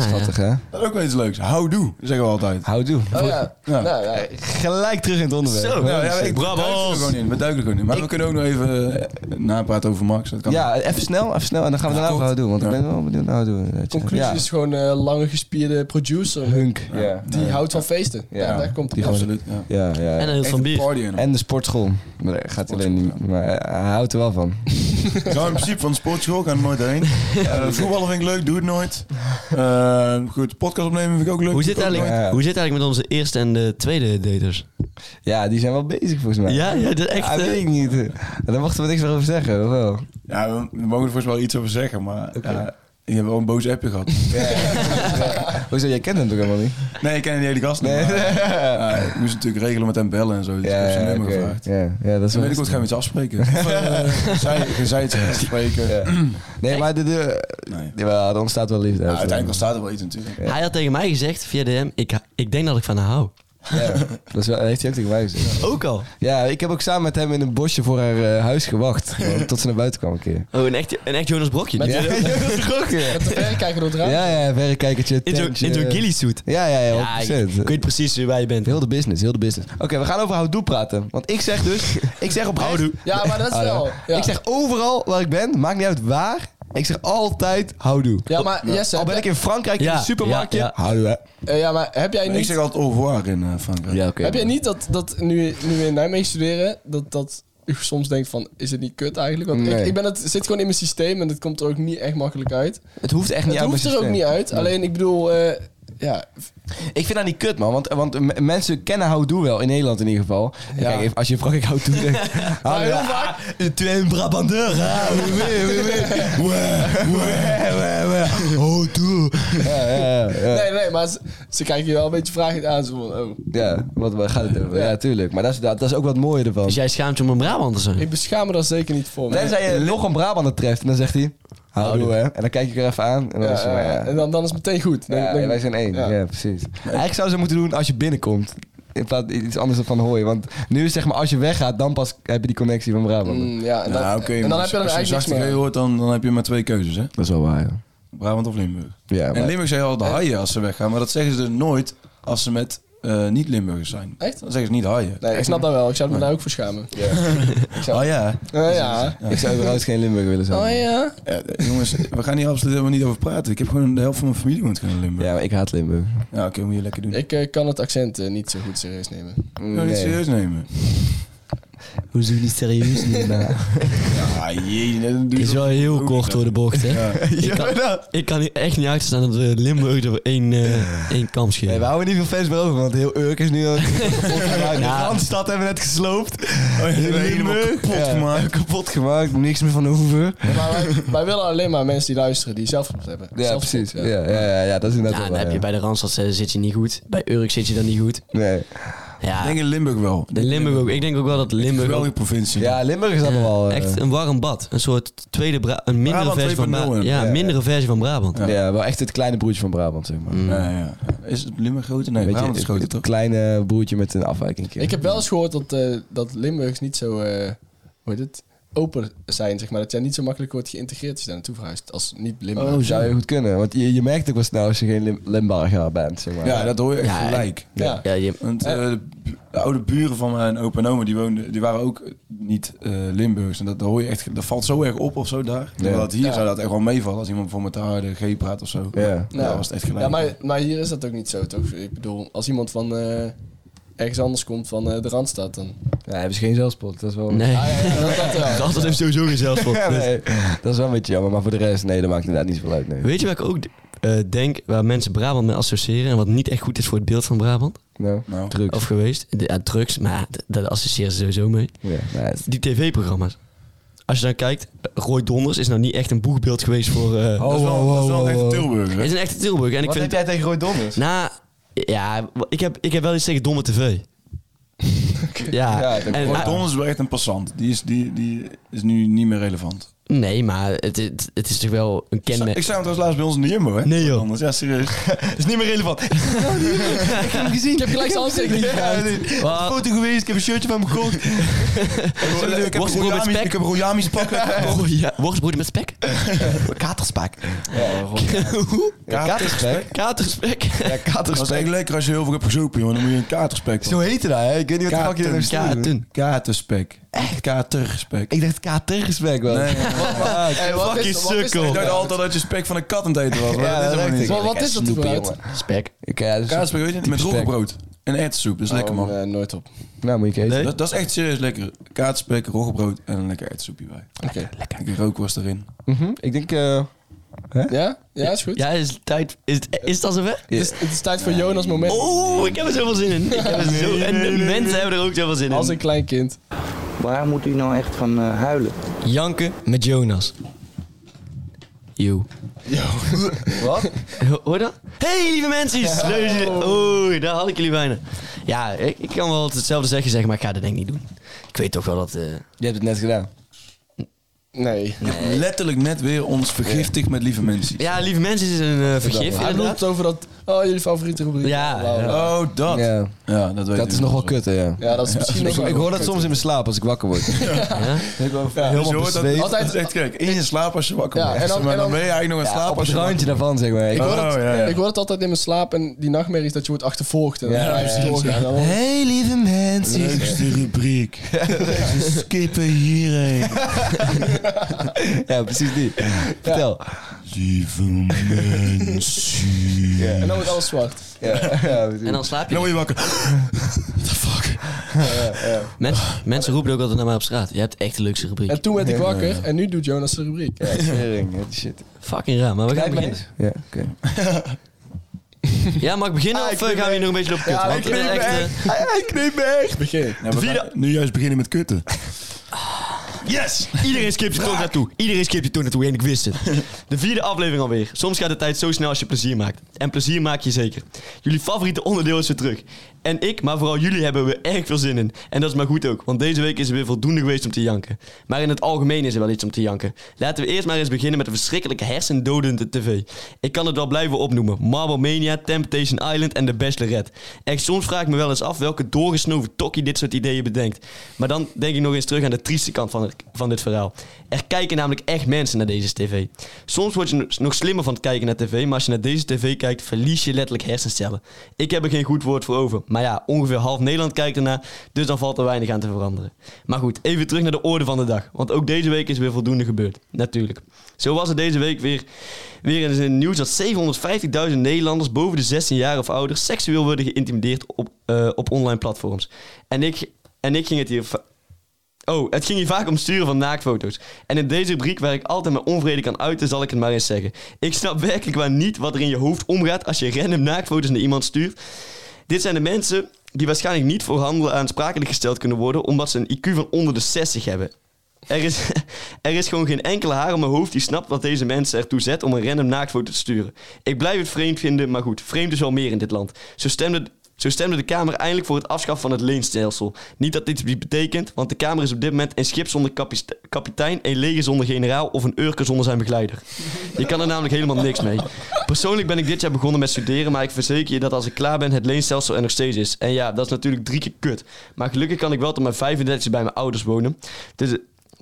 [SPEAKER 2] Schattig hè?
[SPEAKER 3] Dat is ook wel iets leuks. Houdoe, zeggen we altijd.
[SPEAKER 2] Houdoe.
[SPEAKER 5] Oh ja.
[SPEAKER 3] Ja. Nou,
[SPEAKER 5] Nou, ja.
[SPEAKER 2] Gelijk terug in het onderwerp.
[SPEAKER 4] Zo.
[SPEAKER 3] Ja, ja, ik- we
[SPEAKER 4] Brabant.
[SPEAKER 3] duiken er gewoon in. We duiken er gewoon in. Maar we kunnen ook nog even eh, napraten over Max. Dat kan
[SPEAKER 2] Ja, even snel, even snel. En dan gaan we daarna over Houdoe. Want ik
[SPEAKER 3] Ja.
[SPEAKER 2] ben wel benieuwd naar Houdoe. weet je.
[SPEAKER 5] Conclusie
[SPEAKER 2] Ja.
[SPEAKER 5] is gewoon een lange gespierde producer.
[SPEAKER 2] Hunk. Ja.
[SPEAKER 3] Ja.
[SPEAKER 5] Die houdt van feesten. Ja,
[SPEAKER 2] Ja.
[SPEAKER 5] daar komt
[SPEAKER 2] Die
[SPEAKER 5] die
[SPEAKER 2] gewoon-
[SPEAKER 3] absoluut. Ja.
[SPEAKER 2] Ja, ja.
[SPEAKER 4] En een heel
[SPEAKER 3] Echt
[SPEAKER 4] van
[SPEAKER 3] een
[SPEAKER 4] bier.
[SPEAKER 3] party animal.
[SPEAKER 2] En de sportschool. Maar daar gaat hij alleen niet. Maar hij houdt er wel van.
[SPEAKER 3] Nou, in principe van de sportschool kan er nooit heen. Eh, voetballen vind ik leuk, doe het nooit. Eh, goed, podcast opnemen vind ik ook leuk.
[SPEAKER 4] Hoe zit,
[SPEAKER 3] Doe ik ook
[SPEAKER 4] eigenlijk,
[SPEAKER 2] Ja.
[SPEAKER 4] hoe zit het eigenlijk met onze eerste en de tweede daters?
[SPEAKER 2] Ja, die zijn wel bezig volgens mij.
[SPEAKER 4] Ja, ja, dat echt.
[SPEAKER 2] Ja,
[SPEAKER 4] eh,
[SPEAKER 2] weet ik niet. Daar mochten we niks meer over zeggen, of wel?
[SPEAKER 3] nooit. Ja, we, we mogen er volgens mij wel iets over zeggen, maar... ja, ik heb wel een boze appje gehad.
[SPEAKER 2] Hoezo, jij kent hem toch helemaal niet?
[SPEAKER 3] Nee, ik ken die hele gast niet.
[SPEAKER 2] Nee.
[SPEAKER 3] maar, eh, ik moest natuurlijk regelen met hem bellen en zo. Dus ik heb zijn nummer
[SPEAKER 2] oké.
[SPEAKER 3] gevraagd.
[SPEAKER 2] ja, ja, dat is
[SPEAKER 3] Dan
[SPEAKER 2] wel
[SPEAKER 3] weet ik wat, gaan we iets afspreken. Of, eh, zij, zij iets afspreken.
[SPEAKER 2] Nee, maar de, de,
[SPEAKER 3] Nee.
[SPEAKER 2] jawel, er ontstaat wel liefde.
[SPEAKER 3] Ja, uiteindelijk staat er wel iets natuurlijk.
[SPEAKER 4] Hij had tegen mij gezegd via DM, ik, ik denk dat ik van haar hou.
[SPEAKER 2] Ja, dat is wel, dat heeft hij ook tegen mij gezegd.
[SPEAKER 4] Ook al.
[SPEAKER 2] Ja, ik heb ook samen met hem in een bosje voor haar eh, huis gewacht. gewoon, Tot ze naar buiten kwam een keer.
[SPEAKER 4] Oh, een echt, een echt Jonas Brokje.
[SPEAKER 2] Ja,
[SPEAKER 4] Die-
[SPEAKER 2] dat is ook, ja.
[SPEAKER 5] Met de verrekijker door het raam.
[SPEAKER 2] Ja, ja, verrekijkertje,
[SPEAKER 4] In zo'n
[SPEAKER 2] tentje.
[SPEAKER 4] in zo'n ghillie suit.
[SPEAKER 2] eh, Ja, ja, ja, 100%.
[SPEAKER 4] ik, ik weet precies wie wij bent.
[SPEAKER 2] Heel de business, heel de business. Oké, we gaan over houdoe praten. Want ik zeg dus, ik zeg oprecht... Houdoe.
[SPEAKER 5] Ja, maar dat is wel. Ja.
[SPEAKER 2] Ik zeg overal waar ik ben, maakt niet uit waar. Ik zeg altijd houdoe.
[SPEAKER 5] ja, maar Jesse,
[SPEAKER 2] Al ben
[SPEAKER 5] heb
[SPEAKER 2] ik in Frankrijk in
[SPEAKER 4] Ja,
[SPEAKER 2] een supermarktje.
[SPEAKER 4] ja,
[SPEAKER 2] Houdoe. hè.
[SPEAKER 5] jij- eh, ja, maar heb jij
[SPEAKER 3] Ik
[SPEAKER 5] niet,
[SPEAKER 3] zeg altijd au revoir in eh, Frankrijk.
[SPEAKER 2] Ja, oké.
[SPEAKER 5] heb jij niet dat, dat nu, nu we in Nijmegen studeren, dat, dat u soms denkt van, is het niet kut eigenlijk? Want
[SPEAKER 2] Nee.
[SPEAKER 5] ik, ik ben het zit gewoon in mijn systeem en het komt er ook niet echt makkelijk uit.
[SPEAKER 2] Het hoeft echt niet
[SPEAKER 5] Het
[SPEAKER 2] uit
[SPEAKER 5] hoeft er
[SPEAKER 2] mijn
[SPEAKER 5] ook
[SPEAKER 2] systeem. Ah,
[SPEAKER 5] niet uit. Alleen ik bedoel, eh, ja,
[SPEAKER 2] Ik vind dat niet kut, man. Want, want m- mensen kennen houdoe wel, in Nederland in ieder geval. En Kijk, even, als je in Frankrijk houdoe zegt... houdoe,
[SPEAKER 5] heel
[SPEAKER 2] ah,
[SPEAKER 5] vaak-
[SPEAKER 2] Tu es un Brabanteur, hè? Oui, oui, oui. Ouais, ouais, ouais, ouais. Houdoe. Ja, ja, ja.
[SPEAKER 5] nee, nee, maar ze, ze kijken je wel een beetje vragend aan. Zo van, oh,
[SPEAKER 2] Ja, wat waar gaat het over? Ja,
[SPEAKER 5] Ja.
[SPEAKER 2] tuurlijk. Maar dat is, dat, dat is ook wat mooier ervan.
[SPEAKER 4] Dus jij schaamt je om een Brabant te zijn.
[SPEAKER 5] ik beschaam me daar zeker niet voor. maar-
[SPEAKER 2] Tenzij je nog een Brabander treft en dan zegt hij... Houdoe, hè? En dan kijk ik er even aan en dan
[SPEAKER 5] Ja,
[SPEAKER 2] is het maar,
[SPEAKER 5] ja,
[SPEAKER 2] dus, ja.
[SPEAKER 5] En dan, dan is het meteen goed. Dan-
[SPEAKER 2] Ja,
[SPEAKER 5] dan-
[SPEAKER 2] wij zijn één. Ja,
[SPEAKER 5] ja.
[SPEAKER 2] precies. Eigenlijk zou ze moeten doen als je binnenkomt. In plaats iets anders dan van hooi. Want nu is zeg maar als je weggaat, dan pas heb je die connectie van Brabant.
[SPEAKER 5] Mm, ja, en dan,
[SPEAKER 3] Ja, Nou, oké,
[SPEAKER 5] en
[SPEAKER 3] maar
[SPEAKER 5] dan heb je er
[SPEAKER 3] als
[SPEAKER 5] eigenlijk
[SPEAKER 3] je
[SPEAKER 5] niks
[SPEAKER 3] een
[SPEAKER 5] meer.
[SPEAKER 3] hoort, dan, dan heb je maar twee keuzes, hè?
[SPEAKER 2] Dat is wel waar, ja.
[SPEAKER 3] Brabant of Limburg.
[SPEAKER 2] Ja, maar-
[SPEAKER 3] en Limburg zeggen al de haaien als ze weggaan, maar dat zeggen ze dus nooit als ze met eh, niet-Limburgers zijn.
[SPEAKER 5] Echt?
[SPEAKER 3] Dan zeggen ze niet haaien.
[SPEAKER 5] Nee, ik snap dat wel. Ik zou me daar ook voor schamen.
[SPEAKER 3] Oh ja.
[SPEAKER 5] Oh ja.
[SPEAKER 2] Ik zou überhaupt geen Limburger willen zijn.
[SPEAKER 5] Oh ja.
[SPEAKER 3] Ja, d- jongens, we gaan hier absoluut helemaal niet over praten. Ik heb gewoon de helft van mijn familie woont gewoon in Limburg. Ja,
[SPEAKER 2] Ja, maar ik haat Limburg.
[SPEAKER 3] oké, moet je lekker doen. Ik
[SPEAKER 5] Ik eh, kan het accent eh, niet zo goed serieus nemen.
[SPEAKER 3] wil niet serieus nemen.
[SPEAKER 2] Hoe doe je niet serieus nemen? Ah,
[SPEAKER 3] Ja, jee, dat doe
[SPEAKER 4] Het
[SPEAKER 3] je
[SPEAKER 4] is wel heel kort door de bocht, hè? Ik, kan, ik kan hier echt niet uitstaan dat we Limburg door één, eh één kam
[SPEAKER 2] Nee, we
[SPEAKER 4] scheren.
[SPEAKER 2] houden niet veel fans meer over, want heel Urk is nu al... De hele stad hebben we net gesloopt.
[SPEAKER 3] Oh, helemaal
[SPEAKER 2] Limburg.
[SPEAKER 3] kapot
[SPEAKER 2] Ja,
[SPEAKER 3] gemaakt.
[SPEAKER 2] Kapot gemaakt, niks meer van over.
[SPEAKER 5] Maar wij, wij willen alleen maar mensen die luisteren die zelfspot hebben.
[SPEAKER 2] Ja,
[SPEAKER 5] Zelfspot,
[SPEAKER 2] precies. Ja, ja, ja, ja, dat is inderdaad
[SPEAKER 4] Ja,
[SPEAKER 2] wel
[SPEAKER 4] dan heb je
[SPEAKER 2] waar,
[SPEAKER 4] bij de Randstad eh, zit je niet goed. Bij Urk zit je dan niet goed.
[SPEAKER 2] ja. Nee.
[SPEAKER 3] Ik
[SPEAKER 4] Ja,
[SPEAKER 3] denk in Limburg wel.
[SPEAKER 4] de Limburg ook. Ik denk ook wel dat Limburg ook,
[SPEAKER 3] Geweldige provincie.
[SPEAKER 2] Ja, Limburg is dan
[SPEAKER 4] eh,
[SPEAKER 2] wel... eh,
[SPEAKER 4] echt een warm bad. Een soort tweede, Bra- een mindere
[SPEAKER 3] Brabant
[SPEAKER 4] versie van
[SPEAKER 3] 2.0
[SPEAKER 4] Brabant.
[SPEAKER 3] in.
[SPEAKER 4] Ja, een mindere versie van Brabant.
[SPEAKER 2] ja. wel echt het kleine broertje van Brabant, zeg maar.
[SPEAKER 3] Ja, ja. Is het Limburg groter? Mm. Nee,
[SPEAKER 2] Weet je,
[SPEAKER 3] Brabant is
[SPEAKER 2] het,
[SPEAKER 3] groter,
[SPEAKER 2] het
[SPEAKER 3] toch?
[SPEAKER 2] kleine broertje met een afwijking.
[SPEAKER 5] Ik heb wel eens gehoord dat, eh, dat Limburgs niet zo, eh, hoe heet het, open zijn, zeg maar. Dat jij niet zo makkelijk wordt geïntegreerd als je daar naartoe verhuist als niet-Limburg.
[SPEAKER 2] Oh, zou je goed kunnen. Want je, je merkt ook wel snel als je geen Lim Limburger bent, zeg maar.
[SPEAKER 3] Ja, dat hoor je echt
[SPEAKER 4] Ja,
[SPEAKER 3] gelijk.
[SPEAKER 5] Ja.
[SPEAKER 4] Ja, je,
[SPEAKER 3] Want eh, de, bu- de oude buren van mijn opa en oma, die, woonden, die waren ook niet eh, Limburgs. En dat, dat hoor je echt, dat valt zo erg op of zo daar. Terwijl dat hier
[SPEAKER 5] Ja.
[SPEAKER 3] zou dat echt wel meevallen als iemand voor met de harde G praat of zo.
[SPEAKER 2] Ja.
[SPEAKER 3] Ja, was het echt gelijk.
[SPEAKER 5] Ja, maar, maar hier is dat ook niet zo, toch? Ik bedoel, als iemand van eh, ergens anders komt, van eh, de Randstad, dan...
[SPEAKER 2] Ja, hebben ze geen zelfspot. Dat is wel...
[SPEAKER 4] nee.
[SPEAKER 5] Ah, ja, ja, dat, dat wel.
[SPEAKER 4] Randstad heeft dus sowieso geen zelfspot.
[SPEAKER 2] Ja,
[SPEAKER 4] Dus-
[SPEAKER 2] nee. Dat is wel een beetje jammer, maar voor de rest, nee, dat maakt inderdaad niet veel uit. Nee.
[SPEAKER 4] Weet je waar ik ook eh, denk, waar mensen Brabant mee associëren en wat niet echt goed is voor het beeld van Brabant?
[SPEAKER 2] Nou,
[SPEAKER 3] Nou.
[SPEAKER 2] drugs.
[SPEAKER 4] Of geweest? De, ja, drugs, maar d- daar associëren ze sowieso mee.
[SPEAKER 2] Ja, nou, het-
[SPEAKER 4] Die tv-programma's. Als je dan kijkt, eh, Roy Donders is nou niet echt een boegbeeld geweest voor... eh
[SPEAKER 3] dat is wel, dat is wel een echte Tilburger.
[SPEAKER 4] Hij
[SPEAKER 3] hè?
[SPEAKER 4] is een echte Tilburg. En ik
[SPEAKER 2] Oh, Wat
[SPEAKER 4] vind...
[SPEAKER 2] heb jij tegen Roy Donders?
[SPEAKER 4] Nou, ja, w- ik heb, ik heb wel iets tegen domme tv. Ja,
[SPEAKER 2] Ja, ik denk
[SPEAKER 4] en-
[SPEAKER 3] Roy
[SPEAKER 4] ah,
[SPEAKER 3] Donders is wel echt een passant. Die is, die, die is nu niet meer relevant.
[SPEAKER 4] nee, maar het, het, het is toch wel een
[SPEAKER 3] Ik sta-
[SPEAKER 4] kenmerk.
[SPEAKER 3] Ik sta hem trouwens laatst bij ons in de Jumbo, hè?
[SPEAKER 4] Nee, joh.
[SPEAKER 3] Anders, ja, serieus.
[SPEAKER 2] is niet meer relevant.
[SPEAKER 5] Ik heb gelijk zijn handtekening gevraagd.
[SPEAKER 4] Wat?
[SPEAKER 3] foto geweest, ik heb een shirtje van me gekocht. ik heb
[SPEAKER 4] Worstbrood met
[SPEAKER 3] een Royamis-
[SPEAKER 4] spek?
[SPEAKER 3] ik heb een Royamis pakken.
[SPEAKER 4] Oh, ja, worstbroodje met spek?
[SPEAKER 2] Katerspak.
[SPEAKER 4] Hoe?
[SPEAKER 2] Ja, katerspak.
[SPEAKER 4] Katerspek?
[SPEAKER 2] Ja,
[SPEAKER 3] Dat is
[SPEAKER 2] katerspak.
[SPEAKER 3] echt lekker als je heel veel hebt gezopen, joh. Dan moet je een katerspek.
[SPEAKER 2] Zo heette dat, hè? Ik weet niet wat de fuck je
[SPEAKER 3] Kater-
[SPEAKER 2] nou stuurt.
[SPEAKER 4] Katen.
[SPEAKER 3] Katerspek. Echt? Katerspek.
[SPEAKER 2] Ik dacht katerspek wel.
[SPEAKER 3] Nee.
[SPEAKER 5] Hey, wat
[SPEAKER 4] Fuck
[SPEAKER 5] is-
[SPEAKER 4] je
[SPEAKER 5] wat is
[SPEAKER 4] sukkel.
[SPEAKER 3] Ik dacht
[SPEAKER 5] dat?
[SPEAKER 3] altijd dat je spek van een kat aan het eten was. Maar
[SPEAKER 2] Ja,
[SPEAKER 3] dat is
[SPEAKER 2] dat
[SPEAKER 3] helemaal
[SPEAKER 2] dacht
[SPEAKER 3] niet.
[SPEAKER 2] ik.
[SPEAKER 5] Maar wat is dat
[SPEAKER 2] Snoepie,
[SPEAKER 5] voor brood?
[SPEAKER 4] Spek.
[SPEAKER 2] Ik, ja, dat is-
[SPEAKER 3] Katerspek, weet je niet? Met
[SPEAKER 2] Typisch
[SPEAKER 3] droge
[SPEAKER 2] spek.
[SPEAKER 3] brood. En erwtensoep. Dat is lekker, man.
[SPEAKER 5] Eh, nooit op.
[SPEAKER 2] Nou, moet je eten.
[SPEAKER 3] Dat, dat is echt serieus lekker. Katerspek, roggebrood en een lekker erwtensoepje bij.
[SPEAKER 5] Oké.
[SPEAKER 3] Lekker. Een rookworst erin.
[SPEAKER 2] Mhm, Ik denk... eh,
[SPEAKER 5] Ja? Ja, is goed.
[SPEAKER 4] Ja, is het tijd. Is het, is het al zover?
[SPEAKER 5] Het, is, het is tijd voor Jonas' moment.
[SPEAKER 4] Oeh, ik heb er zoveel zin in. Ik heb er zo, en de mensen hebben er ook zoveel zin in.
[SPEAKER 5] Als een klein kind.
[SPEAKER 8] Waar moet u nou echt van eh, huilen?
[SPEAKER 4] Janken met Jonas. Yo.
[SPEAKER 2] Wat?
[SPEAKER 4] Ho- Hoor je dat? Hey, lieve mensen. Leuk dat jullie- Oei, daar had ik jullie bijna. Ja, ik, ik kan wel hetzelfde zeggen, zeg, maar ik ga dat denk ik niet doen. Ik weet toch wel dat... eh,
[SPEAKER 2] Je hebt het net gedaan.
[SPEAKER 5] Nee.
[SPEAKER 3] Letterlijk net weer ons vergiftigd met lieve mensen.
[SPEAKER 4] Ja, lieve mensen is een eh, vergif,
[SPEAKER 5] Hij loopt
[SPEAKER 4] inderdaad.
[SPEAKER 5] het over dat... Oh, jullie favoriete rubriek.
[SPEAKER 4] Ja,
[SPEAKER 5] Bla, bla, bla.
[SPEAKER 3] Oh, dat. Ja,
[SPEAKER 2] Ja.
[SPEAKER 3] dat weet
[SPEAKER 2] Dat
[SPEAKER 3] ik
[SPEAKER 2] is
[SPEAKER 3] wel.
[SPEAKER 2] nog wel kut, hè, ja.
[SPEAKER 5] Ja, dat is misschien
[SPEAKER 2] Ik,
[SPEAKER 5] nog
[SPEAKER 2] ik hoor dat soms in mijn slaap als ik wakker word.
[SPEAKER 4] Ja?
[SPEAKER 3] Dus je
[SPEAKER 2] Helemaal
[SPEAKER 3] hoort dat-
[SPEAKER 2] bezweet.
[SPEAKER 3] Altijd dat is echt gek. In je slaap als je wakker
[SPEAKER 5] Ja,
[SPEAKER 3] wordt.
[SPEAKER 5] en dan-
[SPEAKER 3] maar
[SPEAKER 5] en
[SPEAKER 3] dan
[SPEAKER 5] dan-
[SPEAKER 3] ben je eigenlijk nog in slaap
[SPEAKER 2] Op
[SPEAKER 3] als
[SPEAKER 2] het
[SPEAKER 3] je wakker
[SPEAKER 2] randje daarvan, zeg maar.
[SPEAKER 5] Ik hoor,
[SPEAKER 3] Oh,
[SPEAKER 5] het,
[SPEAKER 3] ja, ja.
[SPEAKER 5] ik hoor het altijd in mijn slaap en die nachtmerries dat je wordt achtervolgd. En dan
[SPEAKER 2] Ja,
[SPEAKER 5] blijf je doorgaan. En dan-
[SPEAKER 2] Hey, lieve mensen.
[SPEAKER 3] Leukste rubriek. Ze skippen hierheen.
[SPEAKER 2] Ja, precies die. Vertel.
[SPEAKER 3] Lieve mensen.
[SPEAKER 5] En dan wordt alles zwart.
[SPEAKER 2] Ja, ja,
[SPEAKER 4] En dan slaap
[SPEAKER 3] Dan
[SPEAKER 4] je.
[SPEAKER 3] Nou word je wakker. What the fuck?
[SPEAKER 4] Mensen, mensen roepen ook altijd naar mij op straat. Je hebt echt de leukste rubriek.
[SPEAKER 5] En toen werd ik wakker en nu doet Jonas de rubriek.
[SPEAKER 2] Tering, ja, die shit.
[SPEAKER 4] Fucking raar, maar we gaan beginnen.
[SPEAKER 2] Ja, oké.
[SPEAKER 4] Ja, mag ik beginnen of eh, gaan we hier nog een beetje op kut? Want ik ben echt, eh,
[SPEAKER 2] Hij knipt me echt.
[SPEAKER 5] Begin.
[SPEAKER 3] Nou, we gaan nu juist beginnen met kutten. Yes!
[SPEAKER 4] Iedereen skipt je toch naartoe. Iedereen skipt je toch naartoe en ik wist het. De vierde aflevering alweer. Soms gaat de tijd zo snel als je plezier maakt. En plezier maak je zeker. Jullie favoriete onderdeel is weer terug. En ik, maar vooral jullie, hebben er erg veel zin in. En dat is maar goed ook, want deze week is er weer voldoende geweest om te janken. Maar in het algemeen is er wel iets om te janken. Laten we eerst maar eens beginnen met de verschrikkelijke hersendodende tv. Ik kan het wel blijven opnoemen. Marble Mania, Temptation Island en The Bachelorette. Echt, soms vraag ik me wel eens af welke doorgesnoven tokkie dit soort ideeën bedenkt. Maar dan denk ik nog eens terug aan de trieste kant van, het, van dit verhaal. Er kijken namelijk echt mensen naar deze tv. Soms word je no- nog slimmer van het kijken naar tv, maar als je naar deze tv kijkt, verlies je letterlijk hersencellen. Ik heb er geen goed woord voor over, Maar ja, ongeveer half Nederland kijkt ernaar, dus dan valt er weinig aan te veranderen. Maar goed, even terug naar de orde van de dag. Want ook deze week is weer voldoende gebeurd. Natuurlijk. Zo was er deze week weer, weer eens in het nieuws dat 750.000 Nederlanders boven de 16 jaar of ouder seksueel worden geïntimideerd op, eh, op online platforms. En ik, en ik ging het hier va- Oh, het ging hier vaak om sturen van naaktfoto's. En in deze rubriek, waar ik altijd mijn onvrede kan uiten, zal ik het maar eens zeggen. Ik snap werkelijk waar niet wat er in je hoofd omgaat als je random naaktfoto's naar iemand stuurt. Dit zijn de mensen die waarschijnlijk niet voor handelen aansprakelijk gesteld kunnen worden, omdat ze een IQ van onder de 60 hebben. Er is, er is gewoon geen enkele haar op mijn hoofd die snapt wat deze mensen ertoe zet om een random naaktfoto te sturen. Ik blijf het vreemd vinden, maar goed, vreemd is wel meer in dit land. Zo stemde, zo stemde de Kamer eindelijk voor het afschaffen van het leenstelsel. Niet dat dit iets betekent, want de Kamer is op dit moment een schip zonder kapis- kapitein, een leger zonder generaal of een urker zonder zijn begeleider. Je kan er namelijk helemaal niks mee. Persoonlijk ben ik dit jaar begonnen met studeren, maar ik verzeker je dat als ik klaar ben, het leenstelsel er nog steeds is. En ja, dat is natuurlijk drie keer kut. Maar gelukkig kan ik wel tot mijn 35 bij mijn ouders wonen. Dus,